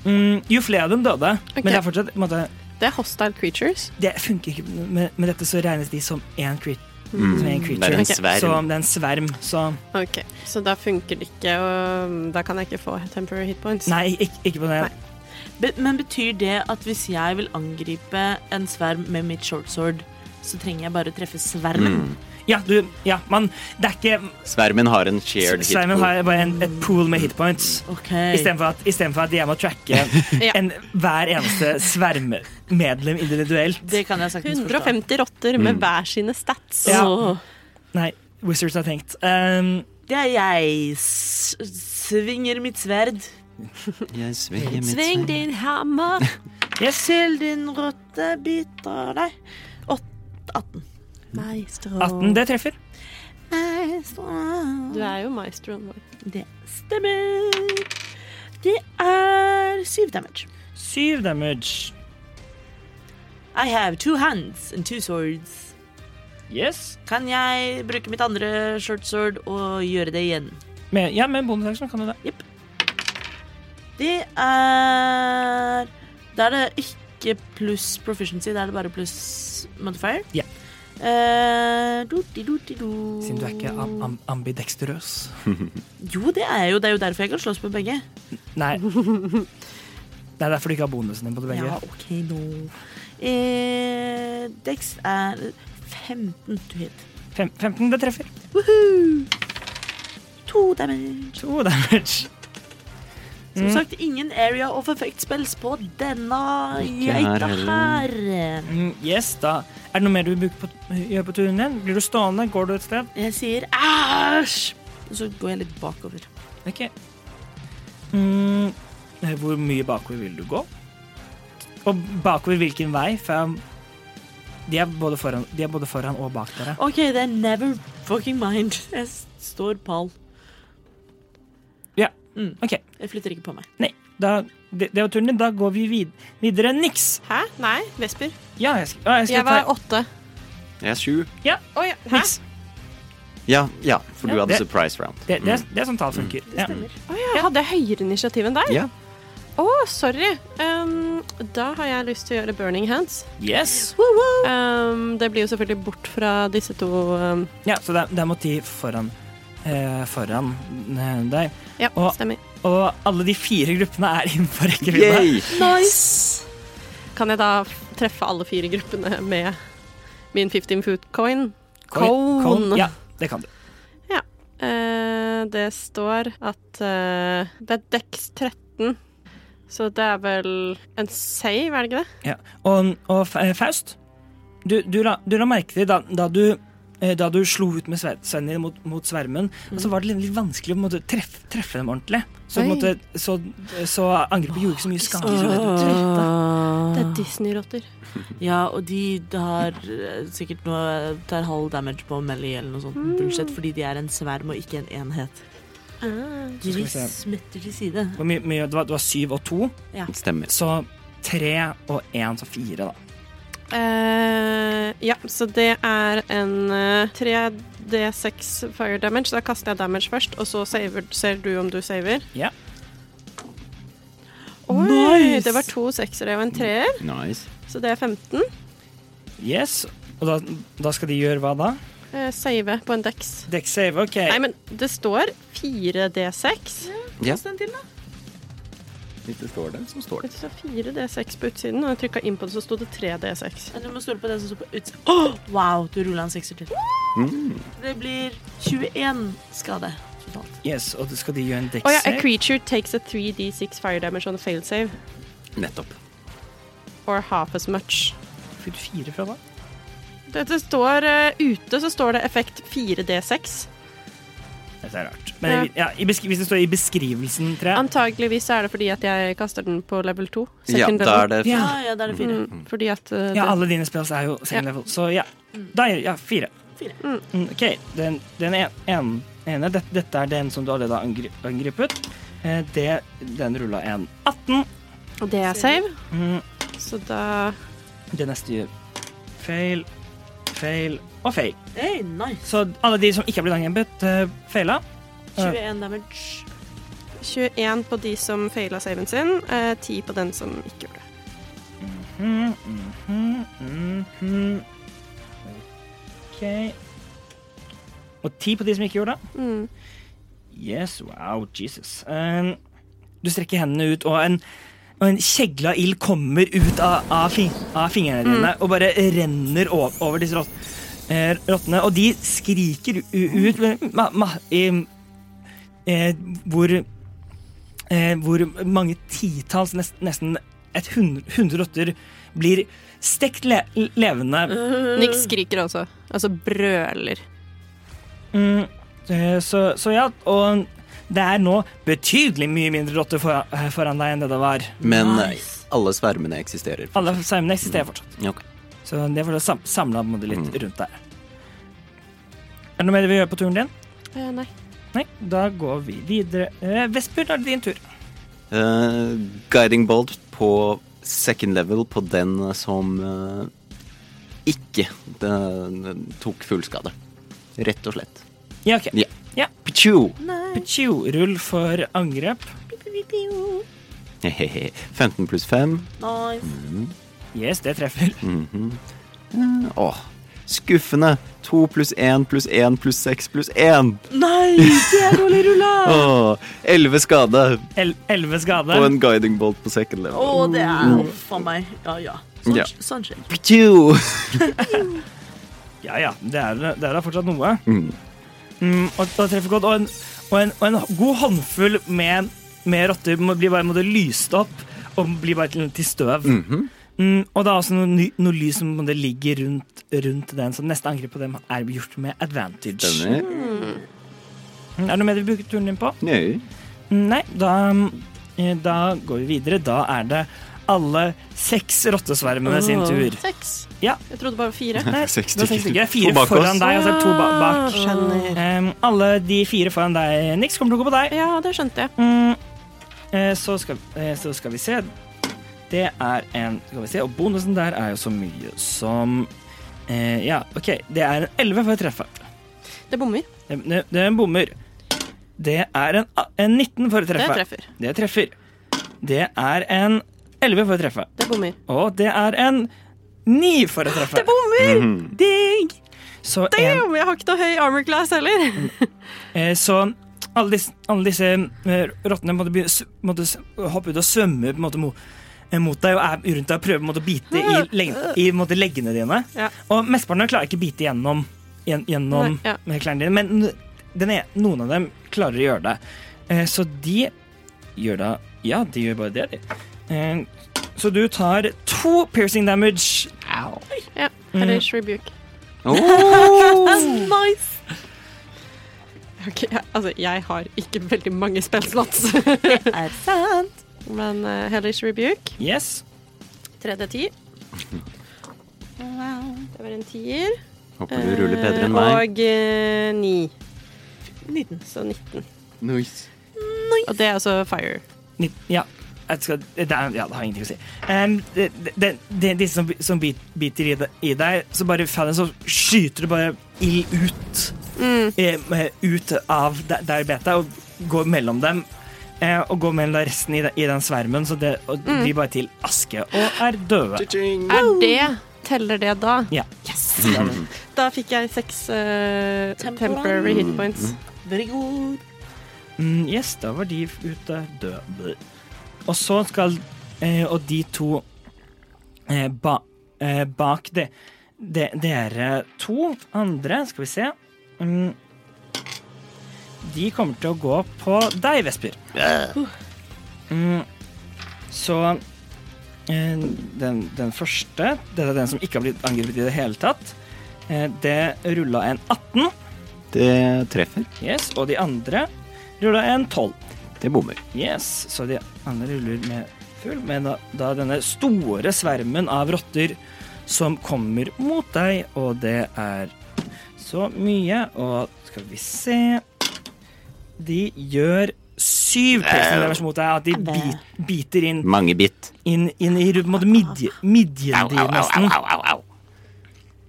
Mm, jo flere av dem døde,
Ok.
men det er fortsatt på en måte,
Det er hostile creatures.
Det funker ikke. Med, med dette så regnes de som én cre som en
Mm, Det er
creature.
en
Ok,
sverm.
Så det er en sverm, så
Ok, Så da funker det ikke, og mm, da kan jeg ikke få temporary hit points.
Nei, ikke, ikke på det.
Nei.
Be men betyr det at hvis jeg vil angripe en sverm med mitt shortsword, så trenger jeg bare treffe svermen?
Ja, du Ja, man Det er ikke
Svermen har en shared hit. Mm.
Svermen har bare en, et pool med hit points.
Ok.
Istedenfor at, i stedet for at jeg må
*laughs*
tracke
Ja.
en, hver eneste svermmedlem individuelt.
Det kan jeg saktens forstå.
150 rotter med hver sine stats.
Ja.
Åh.
Nei, Wizards har tenkt. Um,
Det er jeg. S svinger mitt sverd.
Jeg svinger mitt
Sving
sverd.
din hammer!
Jeg selv din rotte biter deg. Åt- 18.
Maestro.
18, det treffer.
Nei, så-
*laughs* Du er jo maestroen vår.
Det stemmer. Det er syv damage.
Syv damage.
I have two hands and two swords.
Yes.
Kan jeg bruke mitt andre short sword og gjøre det igjen?
Med, ja, med bonusaksjon kan du det.
Det er Da er det ikke pluss proficiency, da er det bare pluss modifier.
Ja.
Eh, do-di-do-di-do.
Siden du er ikke am am ambidextrøs.
Jo, det er jeg jo. Det er jo derfor jeg kan slåss med begge.
Nei. Det er derfor du ikke har bonusen din på det begge.
Ja, OK, nå. Eh, Dex er 15 to hit.
Fem, 15, det treffer.
Woohoo! To damage.
To damage.
Som
Mm.
sagt, ingen area of effect spells på denne
Ikke her
geita her.
Mm, yes, da Er det noe mer du vil bruke på, gjøre på turen din? Blir du stående? Går du et sted?
Jeg sier æsj, og så går jeg litt bakover.
Ok. Mm, eh, hvor mye bakover vil du gå? Og bakover hvilken vei? For de er både foran, de er både foran og bak dere.
OK, det er never fucking mind. Jeg s- står pal.
Ok,
Jeg flytter ikke på meg.
nei, da, det, det var turen din. Da går vi vid videre. Niks!
Hæ? Nei, Vesper.
Ja, jeg skal, å, jeg skal
Jeg var åtte.
Jeg er sju.
Oi, ja. Hæ?
Niks.
Ja, ja, for du
Ja,
hadde
det-
surprise round.
Det, det, er- det er sånn tall funker. Ja.
Å ja, hadde jeg høyere initiativ enn deg?
Ja.
Å, sorry. Um, Da har jeg lyst til å gjøre burning hands.
Yes!
Um, det blir jo selvfølgelig bort fra disse to um,
Ja, så det, er- det er mot de foran, eh, foran eh, deg.
Ja,
Og-
stemmer.
Og alle de fire gruppene er *laughs* innenfor rekkevidde.
Yay!
Nice!
Kan jeg da treffe alle fire gruppene med min 15 foot coin?
Coin-
Cone.
Ja, det kan du.
Eh, det står at eh, det er Dex 13, så det er vel en save, er det ikke det?
Ja. Og, og Fa- eh, Faust, du, du, la, du la merke til da, da du eh, da du slo ut med sve- sverden din mot, mot svermen, og så var det litt, litt vanskelig å på en måte treffe, treffe dem ordentlig. Så, på en
Oi.
måte, så, så angrepet gjorde ikke så mye skade. som det du trodde.
Det
Ah.
Åh.
er Disney-rotter.
Ah. Ja, og de har eh, sikkert noe tar halv damage på melee eller noe sånt
Hmm.
bullshit, fordi de er en sverm og ikke en enhet.
Ah.
Skal vi
De
se.
smetter til side.
Hvor mye- mye- Det var, det var syv og to,
Stemmer.
så tre og én, så fire, da.
Eh, ja, så det er en eh, 3D6 fire damage. Da kaster jeg damage først, og så saver, ser du om du saver.
Ja.
Oi!
Nice!
Det var to seksere og en treer,
Nice.
så det er 15.
Yes. Og da, da skal de gjøre hva da?
Eh, save på en dex.
Dekk save, OK.
Nei, men det står 4D6.
Ja.
Hvordan til, da?
Hvis det står det, så står det.
Det står 4D6 på utsiden, og jeg trykka inn på det, så sto det 3D6.
Men du må stole på det som står på utsiden. Åh, wow, du rulla en sekser til.
Hmm.
Det blir 21 skade totalt.
Yes, og da skal de gjøre en dekk
Å ja, a
save?
creature takes a 3D6 fire damage on a fail save,
Nettopp.
or half as much.
Fikk du fire fra da?
Dette står eh, ute, så står det effekt 4D6.
Dette er rart. Men i- ja, i besk- hvis det står i beskrivelsen, tror jeg.
Antageligvis er det fordi at jeg kaster den på level 2.
Ja,
second
da
level.
er det
Ja.
Ah, ja, da er det fire.
Mm, fordi at eh,
Ja,
det-
alle dine spells er jo second level, så ja. Da er ja, fire.
Fire.
Mm, OK, den, den en, en, ene dette, dette er den som du allerede har angri- angrepet. Eh, det, den rulla en 18.
og det er save,
Mm,
så da
det neste gjør feil, feil og feil.
Hey, nice.
Så alle de som ikke er blitt angrepet, eh, feila.
21 damage.
21 på de som faila saven sin, eh, 10 på den som ikke gjorde det.
Mhm, mhm, mhm. OK. Og ti på de som ikke gjorde det.
Mm.
Yes, wow, Jesus. Um, du strekker hendene ut, og en, og en kjegle av ild kommer ut av, av, fi- av fingrene dine og bare renner over, over disse rot, eh, rottene. Og de skriker u, ut ma, ma, i, eh, hvor, eh, hvor mange titalls, nest, nesten et hundre, hundre rotter blir stekt le, levende.
Nick skriker også. Altså brøler.
Mm, eh, så, så ja, og det er nå betydelig mye mindre rotter for, eh, foran deg enn det det var.
Men eh,
Nice.
alle svermene eksisterer.
Alle saumene eksisterer fortsatt.
Ok.
Så det får du samla litt
Mm.
rundt der. Er det noe mer vi gjør på turen din?
Eh, nei.
Nei, da går vi videre. Eh, Vesper, da er det din tur.
Eh, guiding bolt på second level på den som eh, ikke eh, tok full skade. Rett og slett.
Ja, OK.
Ja.
Ja.
Pichu!
Pichu, rull for angrep.
Hehehe. 15 pluss 5.
Nice.
Yes, det treffer.
Mm. Åh, skuffende. 2 pluss 1 pluss 1 pluss 6 pluss 1.
Nei, det er dårlig rulla!
Åh, 11 skade
El Elleve skade.
på en guiding bolt på second
Å,
level.
det er Huff a meg. Ja, ja. Sånn,
Ja.
sånn skjer.
Pichu!
Ja ja, det er, det er da fortsatt noe.
Mm.
Mm, og, og treffer godt. Og en, og en, og en god håndfull med, med rotter må- blir bare må det lyst opp og blir bare til, til støv.
Mhm.
Mm, og det er også noe, ny- noe lys som på en måte ligger rundt, rundt den, så neste angrep på dem er gjort med advantage.
Stemmer.
Mm, Er det noe mer vi bruker turen din på?
Nei.
Mm, Nei, da, eh, da går vi videre. Da er det alle seks rottesvermene sin tur.
Seks.
Ja.
Jeg trodde bare fire. *laughs*
Nei,
Seks
det er seks stykker.
stykker.
Det er
To
Fire
bak oss.
foran deg, og så er det to ba bak.
Skjønner.
Em, alle de fire foran deg, Nix, kommer til å gå på deg.
Ja, det skjønte jeg.
Mm. Eh, Så skal, eh, så skal vi se. Det er en Skal vi se, og bonusen der er jo så mye som eh, Ja, OK. Det er en 11 for å treffe.
Det bommer.
Det, det, det er en bommer. Det er en, a- en 19 for å
Det
treffe.
treffer.
Det treffer. Det er en 11 for å treffe.
Det bommer.
Og det er en 9 for å treffe.
Bommer!
Mhm.
Digg!
Så, en,
Damn, jeg har ikke noe høy armor class *laughs* heller.
eh, så alle disse, alle disse eh, rottene måtte, begynne, s- måtte s- hoppe ut og svømme på en måte mo- eh, mot deg og er rundt deg og prøver på en måte å bite i, leng- i på en måte, leggene dine.
Ah. Ja.
Og mesteparten av dem klarer ikke å bite gjennom, gjen- gjennom
Nei, ja.
med klærne dine, men n- den er, noen av dem klarer å gjøre det. Eh, så de gjør da Ja, de gjør bare det, de. Eh, så du tar to piercing damage.
Ja, Hellish rebuke.
Ah, Nice!
Ok, jeg, altså, jeg har ikke veldig mange spellslots,
Er sant.
*laughs* men eh, Hellish rebuke.
Yes.
Tredje ti. Det var en tier.
Håper du ruller bedre enn
Eh,
meg.
Og eh, ni.
19.
Så 19.
Nice.
Og det er altså fire.
Ni- Ja, jeg skal, det, er, ja, det har ingenting å si. Em, det, det, det, disse som, som bit, biter i, deg- i deg, så bare faller, så skyter det bare ild ut. eh, ut av de- der beta og går mellom dem. eh, og går mellom da resten i, de- i den svermen, så det og de blir bare til aske og er døde.
Er det Teller det da?
Ja. Mm.
Yes! Da fikk jeg seks eh, temporary hit points.
Very good.
Mm, yes, da var de ute døde. Og så skal eh, Og de to eh, ba, eh, bak de, de, dere to andre, skal vi se mm, De kommer til å gå på deg, Vesper. Mm, så eh, den, den første Det er den som ikke har blitt angrepet i det hele tatt. Eh, det rulla en 18,
Det treffer.
yes, og de andre rulla en 12.
Det bommer.
Yes, så de andre ruller med full, men da, da denne store svermen av rotter som kommer mot deg, og det er så mye, og skal vi se De gjør syv piercing damage mot deg, at de bi- biter inn,
Mange bit.
inn, inn i på en måte midje, midjen din, nesten.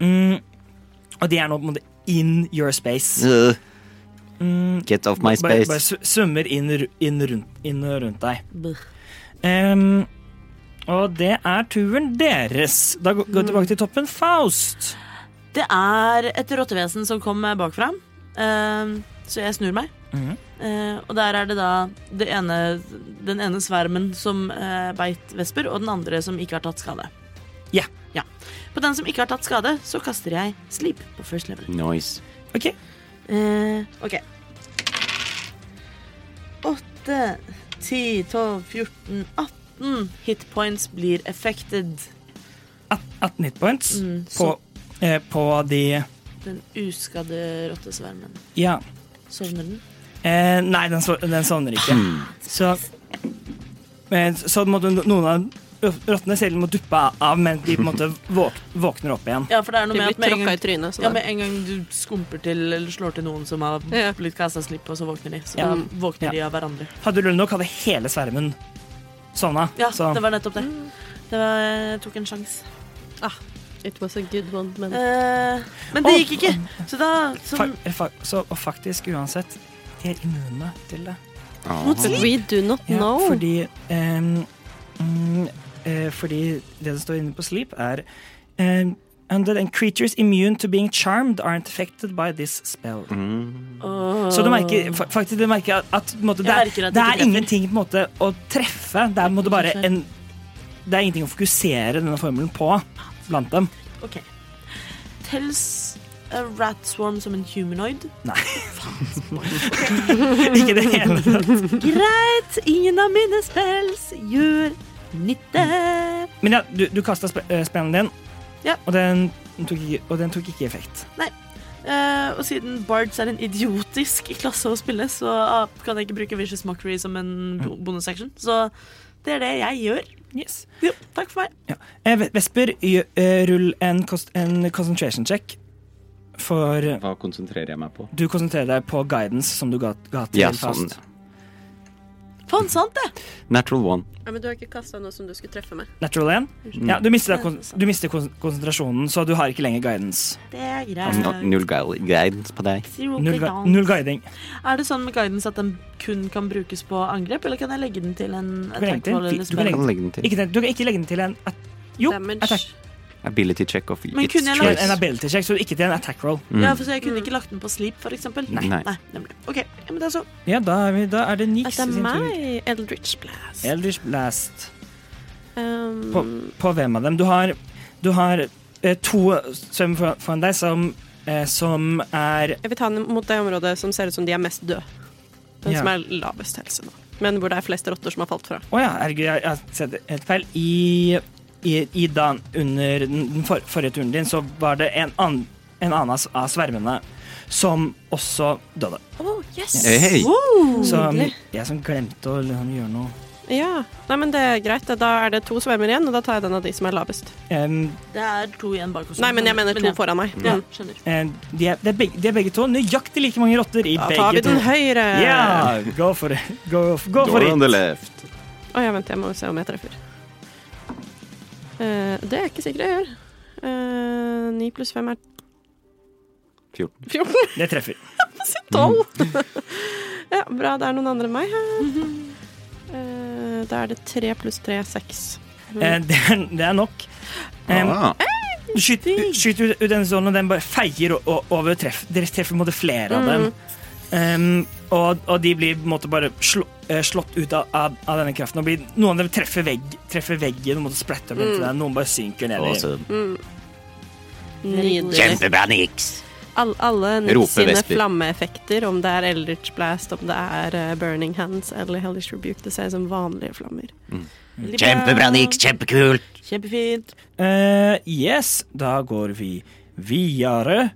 Mm, og de er nå på en måte in your space.
Øh. Get off my
Bare, bare
space.
sv- svømmer inn, ru- inn, rundt, inn og rundt deg. Ehm, og det er turen deres. Da gå- går vi tilbake til toppen. Faust.
Det er et rottevesen som kom bakfra, eh, så jeg snur meg.
Mhm.
Eh, og der er det da det ene, den ene svermen som eh, beit vesper, og den andre som ikke har tatt skade.
Ja.
ja. På den som ikke har tatt skade, så kaster jeg sleep på first level.
Nice.
OK.
Eh, ok. 8, 10, 12, 14, 18 hit points blir affected.
At- 18 hit points
Mm,
på,
så
eh, på de
den uskadde rottesvermen
Ja.
sovner den.
Eh, nei, den, sov- den sovner ikke. Så, eh, så måtte noen av rottene selv må duppe av, men de på en måte våk, våkner opp igjen.
Ja, for det er noe
De
med
blir
at med en,
tråkka i
gang,
trynet. Så
ja,
da-
med en gang du skumper til eller slår til noen som har
Ja.
blitt kasta slipp, og så våkner de. Så
Ja.
da våkner de av hverandre.
Hadde du lurt nok, hadde hele svermen sovna.
Ja,
så
det var nettopp det. Det var, jeg tok en sjanse.
It was a good one, men
Eh, men det gikk ikke, så da
fa
som,
fa så, og faktisk, uansett, de er immune til det.
Ah.
But we do not
Ja,
know.
fordi ehm, mm, eh, Fordi det som står inne på Sleep, er ehm, Under and creatures immune to being charmed aren't affected by this spell.
Mm,
Så du merker, fa faktisk, du merker at, at, på en måte, det,
Jeg
er-
merker at det
det
ikke
er
treffer.
ingenting på en måte, å treffe. Det er, på en måte, bare
Treffer.
en, det er ingenting å fokusere denne formelen på blant
*laughs*
dem.
OK. Tells a rat swarm som en humanoid.
Ikke det hele tatt.
Greit, ingen av mine spells gjør nytte.
Men ja, du, du kasta spe eh, spennen din,
Ja.
og, den tok ikke, og den tok ikke effekt.
Eh, og siden Bards er en idiotisk klasse å spille, så ah, kan jeg ikke bruke Vicious Mockery som en bo- bonus action. Så det er det jeg gjør.
Yes.
Jo, takk for meg.
Ja. Eh, Ve- Vesper, gjø- eh, rull en, kost- en concentration check. For eh,
Hva konsentrerer jeg meg på?
du konsentrerer deg på guidance som du ga, ga til
Ja, sånn.
fast.
på en sånn, det.
Natural one.
Ja, men du har ikke kasta noe som du skulle treffe med.
Natural 1?
Mm.
Ja, du mister, da kon- du mister kon konsentrasjonen, så du har ikke lenger guidance.
Det er
No,
greit.
Mm. null guil- guidance på deg.
Zero
Null, gui-
guidance.
null guiding.
Er det sånn med guidance at den kun kan brukes på angrep, eller kan jeg legge den til en
kan legge
attack
til-
roll
du
eller
kan
spell?
Kan legge den til.
Ikke, den- du kan ikke legge den til en at, Jo,
Damage.
attack.
Ability check of
Men
its
kunne jeg
En, en
choice.
ability check, så ikke til en attack roll.
Mm.
Ja, for så jeg kunne ikke lagt den på sleep, for eksempel.
Nei. Nei.
Nei, nemlig. OK, ja, men det er så.
Ja, da er, vi, da er det Nix
At det er
sin tur.
meg, Eldritch Blast.
Elders Blast.
Um,
På hvem av dem? Du har, du har eh, to svøm foran deg som, eh, som er
jeg vil ta den mot det området som ser ut som de er mest døde. Den
Ja.
som er lavest helse nå. Men hvor det er flest rotter som har falt fra.
Å ja, herregud, jeg jeg har sett helt feil. I, i, i da, under den den for, forrige turen din så var det en, an, en annen av s- av svermene som også døde.
Oh, yes!
Hey.
Mm. Så um, jeg som glemte å liksom, gjøre noe
Ja. Nei, men det er greit. Da er det to svermer igjen, og da tar jeg den av de som er lavest.
Em,
Det er to igjen bak oss.
Nei, men jeg mener to
ja.
foran meg.
Ja,
Mm.
skjønner.
em, um, de, er, de, er begge, de er begge to nøyaktig like mange rotter i
Da tar vi
begge to.
den høyre.
Ja, gå for det. Gå, gå for
Door on the
it.
left.
Å ja, vent, jeg må se om jeg treffer. Eh, det er jeg ikke sikker jeg gjør. Uh, 9 pluss 5 er
14.
*laughs* 14.
Det treffer.
12!
Mm.
*laughs* ja, bra. Det er noen andre enn meg her. Eh, da er det 3 pluss 3 er 6.
Eh, det, er, det er nok. Um, Em,
Ah,
Du skyter, skyter ut, ut den sånn, og den bare feier o- o- over treff. Dere treffer på en måte flere av dem.
Mm.
Em, og, og de blir på en måte bare slå, eh, slått ut av, av, av denne kraften. Og blir, noen av dem treffer, vegg, treffer veggen og måtte splatter opp
Mm.
inntil den. Noen bare synker ned i
Awesome.
Nydelig.
Kjempebra, Nix.
All, alle
Roper
Nix sine
Vesper.
flammeeffekter, om det er Eldritch Blast, om det er eh, Burning Hands eller Hellish Rebuke, det ser ut som vanlige flammer.
Mm.
Kjempebra, Nix. Kjempekult.
Kjempefint.
Eh, Yes, da går vi videre.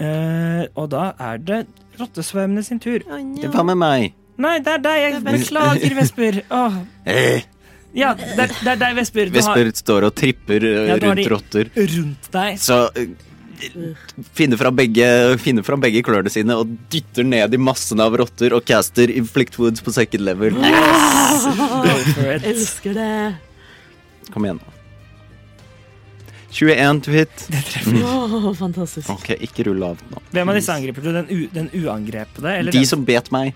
Eh, og da er det rottesvømmene sin tur.
Å, nja.
det var med meg.
Nei, det er deg. Jeg
Det er Vesper.
beklager,
*laughs*
Vesper. Åh.
Eh,
Ja, det, er- det er deg, Vesper. Du har
Vesper står og tripper eh,
Ja, du har
rundt
de-
rotter.
rundt deg.
Så eh, finner fram, begge, finner fram begge klørne sine og dytter ned i massen av rotter og caster Inflict Woods på second level.
Go for it.
Elsker det.
Kom igjen, nå. 21 to hit.
Åh, fantastisk.
Ok, ikke rull av nå.
Hvem av disse angriper du? Den, u, den uangrepede? Eller
De
den?
som bet meg,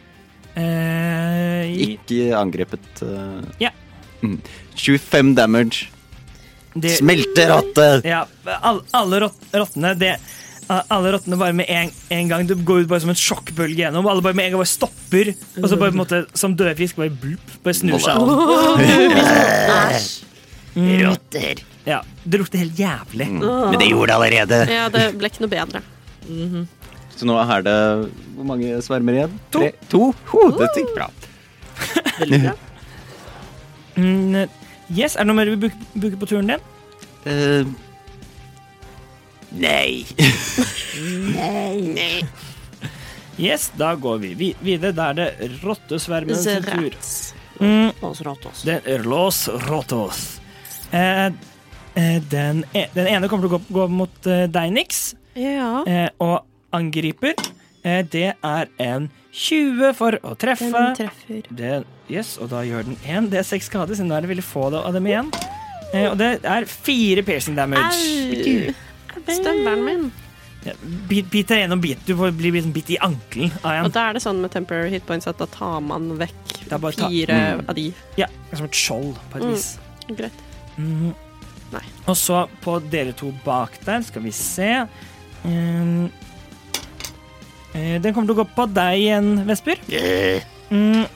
Eh, i-
ikke angrepet. eh,
Ja.
mm. 25 damage.
de-
Smelter rattet!
Ja, all, alle rott, rottene det, Alle rottene bare med en, en gang. Det går ut bare som en sjokkbølge gjennom. Alle bare med en gang bare stopper, og så bare på en måte som døde fisk bare, blup, bare snur seg. om.
rotter.
Ja, Det lukter helt jævlig.
Mm.
Men det gjorde det allerede.
Ja, det ble ikke noe bedre.
Så nå er det Hvor mange svermer igjen?
To.
Tre. to? Ho, dette gikk bra.
Mm, yes, Er det noe mer du vil bruke- bruke på turen din?
Eh,
Nei.
Yes, da går vi vi- videre. Da er det rottesvermen sin tur.
Mm.
Oss rått oss.
Den Los Rotos. Eh, eh, den, e den ene kommer til å gå, gå mot eh, deg, Nix,
Ja.
eh, og angriper. Eh, det er en 20 for å treffe.
Den treffer.
Det, yes, og da gjør den 1 D6 skade, siden da er det veldig få av dem igjen. Eh, og det er fire piercing damage.
Støvelen min.
Bit, bit deg gjennom bit. Du får- blir liksom bitt i ankelen av
Og
en.
da er det sånn med temporary hit points at da tar man vekk
Da bare ta- Mm.
fire av de.
Ja, som et skjold, på et
Mm.
vis.
Greit.
Mhm.
Nei.
Og så på dere to bak der, skal vi se Ehm, eh, Den kommer til å gå på deg igjen, Vesper.
Eh,
Mm.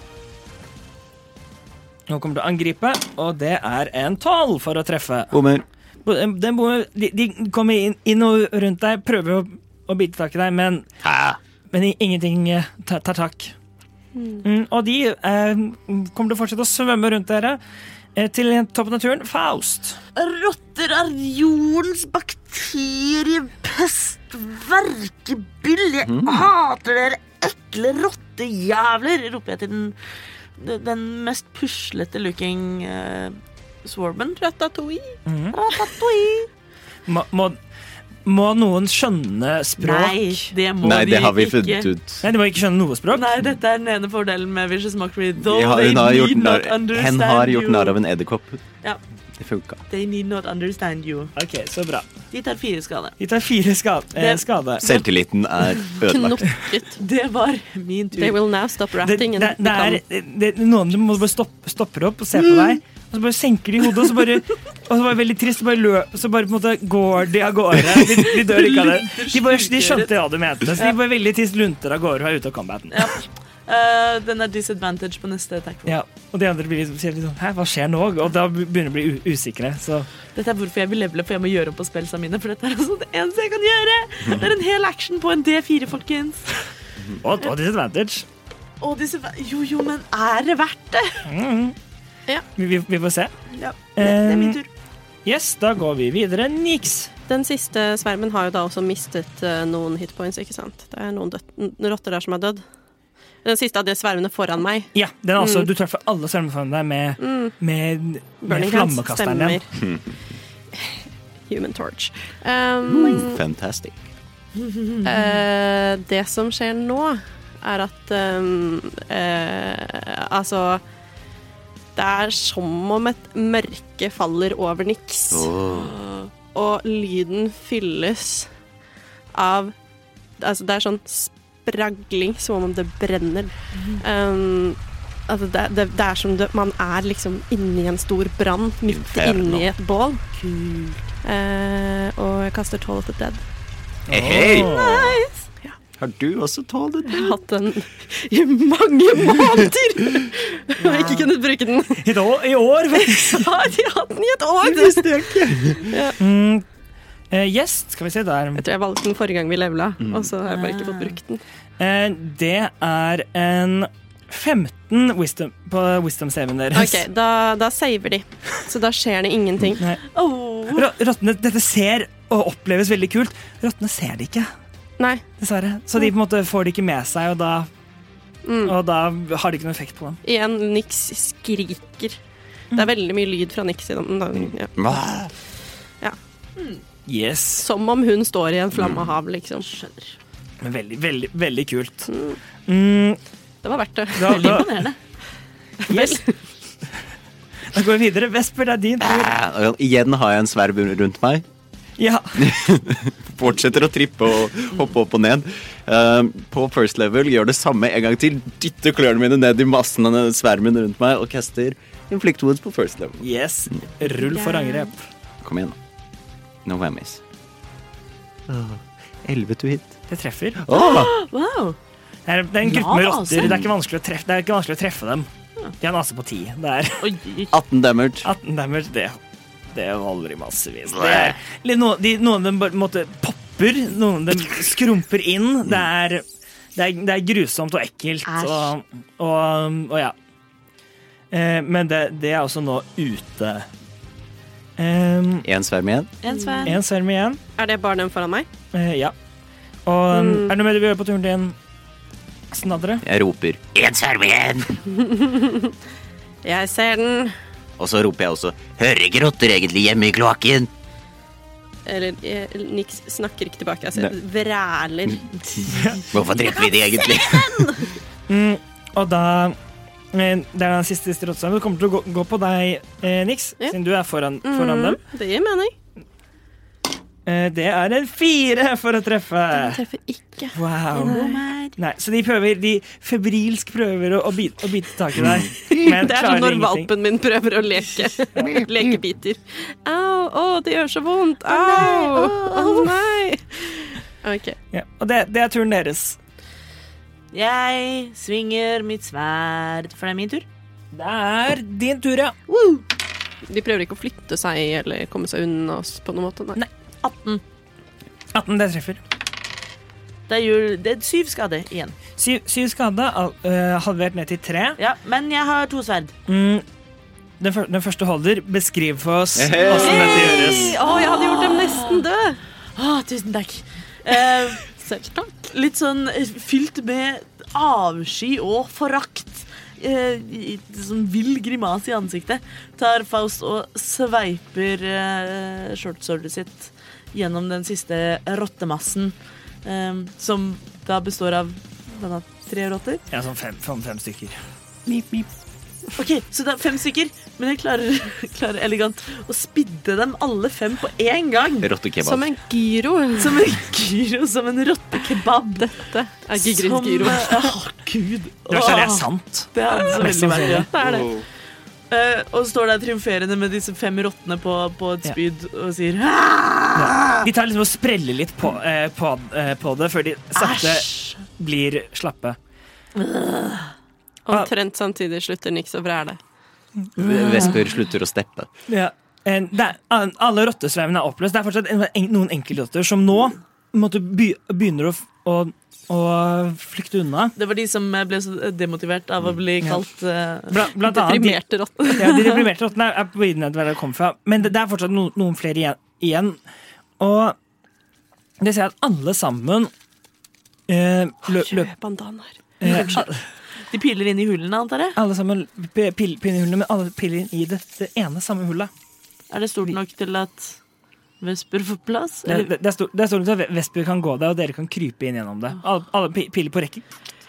Nå kommer til å angripe, og det er en tolv for å treffe.
Bommer.
Bo- Den bommer- de, de kommer inn, inn og rundt deg, prøver å, å bite tak i deg, men,
ha.
men i- ingenting eh, tar, tar tak. Mm, og de eh, kommer til å fortsette å svømme rundt dere eh, til toppen av turen. Faust.
Rotter er jordens bakteriepest, verkebyll. Jeg
Mm.
hater dere ekle rottejævler, roper jeg til den, den mest puslete looking uh, swarmen.
Mm.
Ratatouille.
Ratatouille.
Må, må, Må noen skjønne språk?
Nei, det må
Nei,
vi
det har vi funnet
ikke.
ut.
Nei, de må ikke skjønne noe språk?
Nei, dette er den ene fordelen med Vicious Mockery. Though
Vi har,
they
hun har gjort
need
narr,
not understand
hen har gjort narr
you.
av en edderkopp.
Ja.
Det funka.
They need not understand you.
Ok, så bra.
De tar fire skade.
Vi tar fire skade. Eh,
Det-
skade.
Selvtilliten er ødelagt.
Knokket.
Det var min tur.
They will now stop
Det, det,
ratting. and
det er det, Noen du må bare stoppe, stopper opp og ser på
Mm.
deg, og så bare senker de hodet, og så
*laughs*
bare og så bare veldig trist, og bare løp, og så bare på en måte går de av gårde. De, de dør ikke av det. De, bare, de skjønte hva du mente, så de bare veldig trist lunter av gårde og er ute av combaten.
Ja. Eh, den er disadvantage på neste attack. roll.
Ja, og de andre blir liksom, sier litt sånn Hæ, hva skjer nå? Og da begynner de å bli u- usikre. Så
Dette er hvorfor jeg vil levele, for jeg må gjøre opp på spellsa mine. For dette er altså det eneste jeg kan gjøre. Det er en hel action på en D4, folkens.
Og, og disadvantage.
Og disse Jo, jo, men er det verdt det?
Mm.
Ja.
Vi, vi, vi får se.
Ja, det, det er min
Eh,
tur.
Yes, da går vi videre. Nix.
Den siste svermen har jo da også mistet eh, noen hitpoints, ikke sant? Det er noen død- n- rotter der som er dødd. Den siste av de svermene foran meg.
Ja, den er altså,
Mm.
Du treffer alle svømmefangene der med, med, med
Burning Hands
flammekasteren Hmm. din.
stemmer. *laughs* Human Torch. Um,
Fantastic.
eh, det som skjer nå, er at um, eh, Altså Det er som om et mørke faller over niks. Og lyden fylles av Altså, det er sånn spragling, som om det brenner. Um, altså, det, det, det er som det, man er liksom inni en stor brann, midt
Inferno.
inni et bål. Eh, og jeg kaster tolv etter dead.
Hey, hey.
Åh.
Har du også tålt det?
Jeg har hatt den i mange måneder! Og ikke kunnet bruke den.
I, da, I år, faktisk.
*laughs* Så har de hatt den i et år! Jeg
Mm. Eh, yes, skal vi se der.
tror jeg valgte den forrige gang vi levela, og så har jeg bare ikke fått brukt den.
Eh, det er en 15 wisdom, på wisdom-saven deres.
OK, da, da saver de. Så da skjer det ingenting.
Nei.
Åh.
Ro- Rottene, dette ser og oppleves veldig kult. Rottene ser det ikke,
Nei.
dessverre. Så de på en måte får det ikke med seg, og da,
Mm.
og da har det ikke noen effekt på dem.
Igjen, Nix skriker. Det er veldig mye lyd fra Nix i den. Ja.
Hva?
Yes.
Som om hun står i en flammehav, liksom.
Men veldig, veldig, veldig kult. Mm,
Det var verdt det.
da, da, yes. da går vi videre. Vesper, det er din tur.
Eh, og Igjen har jeg en sverv rundt meg.
Ja.
Fortsetter å trippe og hoppe opp og ned. Eh, på first level gjør det samme en gang til. Dytter klørne mine ned i massen av den svermen rundt meg og caster Inflict Woods på first level.
Yes. Rull for angrep.
Kom igjen, da. No whammies. Elleve to hit.
Det treffer.
Åh!
Wow.
Det er, det er en gruppe med
Lav AC.
rotter. Det er ikke vanskelig å treffe, det er ikke vanskelig å treffe dem. De har en AC på 10. Det er
Oi, oi,
18 damage.
18 damage. Det, det holder i massevis. Det er, eller noen, de, noen av dem bare på en måte popper, noen av dem skrumper inn. Det er, det er, det er grusomt og ekkelt. Og, og, og ja. Eh, men det, det er også nå ute. Um,
Én sverm igjen.
en svenn.
en serm igjen.
Er det bare den foran meg?
Eh, ja. Og
Mm.
um, er det noe mer du vil gjøre på turen din, Snadre?
Jeg roper.
En sverm igjen!
Jeg ser den.
Og så roper jeg også.
Hører ikke rotter egentlig hjemme i kloakken?
Eller eh, Nix snakker ikke tilbake. Altså,
Nei.
vræler.
Hvorfor dreper vi de egentlig?
Mm, og da eh, Det er den siste stråtsammen. Det kommer til å gå, gå på deg, eh, Nix,
Ja.
siden du er foran, foran dem.
Mm, Det gir mening.
Eh, det er en fire for å treffe.
Jeg treffer ikke.
Wow. Nei, så de prøver, de febrilsk prøver å, å, bite, å bite tak i deg, men
*laughs* *laughs* Det er som
klarer
når
ingenting.
valpen min prøver å leke *laughs* lekebiter. Au, å, det gjør så vondt. Au, å nei. OK.
Ja, og det, det er turen deres.
Jeg svinger mitt sverd, for det er min tur.
Det er din tur, ja.
De prøver ikke å flytte seg eller komme seg unna oss på noen måte. Nei.
18.
18, det treffer.
Det er, jul, det er syv skade igjen.
Syv, syv skade, al- eh, halvert ned til tre.
Ja, men jeg har to sverd.
Mm, den, fyr- den første holder. Beskriv for *laughs* oss
Hey!
åssen dette gjøres.
Å, jeg hadde gjort dem nesten døde.
Å, tusen takk. Eh,
Selv takk.
litt sånn eh, fylt med avsky og forakt. Eh, i- sånn vill grimase i ansiktet. Tar Faust og sveiper eh, shortsordet sitt gjennom den siste rottemassen, eh, som da består av blant annet tre rotter.
Ja, sånn fem, fem, fem stykker.
Ok, så det er fem stykker, men jeg klarer, *laughs* klarer elegant å spidde dem alle fem på én gang.
Rottekebab.
Som en gyro.
Som en gyro, som en rottekebab.
Dette er Gigrins gyro.
Som, *laughs* Åh, gud.
Det verste er det er
Åh,
sant.
Det er så
Mest
veldig verre.
sannsynlig.
Det er det.
Eh, og står der triumferende med disse fem rottene på, på et
Ja.
spyd og sier «Hæ?
Ah.
De tar liksom og spreller litt på, eh, på, eh, på det før de sakte
Æsj!
blir slappe. Ah.
Omtrent samtidig slutter Nix å vræle.
Vesper slutter å steppe.
Ja. Eh, Det er, an- alle rottesvevene er oppløst. Det er fortsatt en, en, noen enkeltrotter som nå måtte by, begynner å, f- å, å flykte unna.
Det var de som eh, ble så demotivert av
Mm,
å bli kalt eh,
Blant, blant annet Ah, de,
Deprimerte rotter.
ja, de deprimerte rottene er på viden av der de kom fra. Men det, det er fortsatt no, noen flere igjen, igjen. Og det ser jeg at alle sammen eh, lø, *laughs* løp,
Bandanaer.
eh,
De piler inn i hulene, antar jeg?
alle sammen p- pil- pinnehullene, men alle piller inn i det, det ene samme hullet.
Er det stort nok til at Vesper får plass?
Det,
Eller,
det, det er stor- det er stort sett at Vesper kan gå der, og dere kan krype inn gjennom det. Alle, alle pi- piler på rekke.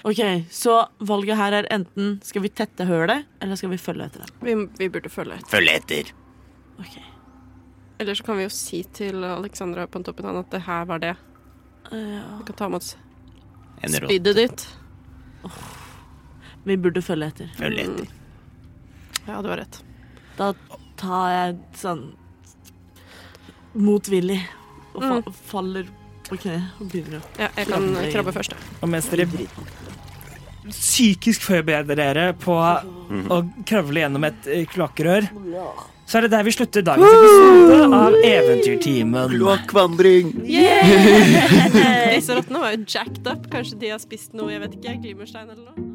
ok, Så valget her er enten skal vi tette hølet, eller skal vi følge etter dem?
Vi, vi burde følge etter.
Følg etter.
Ok,
Eller så kan vi jo si til Alexandra på toppen av at det her var det.
eh, ja.
Vi kan ta med oss
En rå-
spydet ditt.
Vi burde følge etter.
Følg etter.
Ja, du har rett.
Da tar jeg sånn motvillig og fa faller på kne og begynner å
Ja, jeg kan krabbe først. da.
Og mens dere psykisk forbereder dere på å kravle gjennom et eh, kloakkrør, så er det der vi slutter dagens episode av Eventyrtimen.
Kloakkvandring!
Disse rottene var jo jacked up. Kanskje de har spist noe, jeg vet ikke. Glimmerstein eller noe.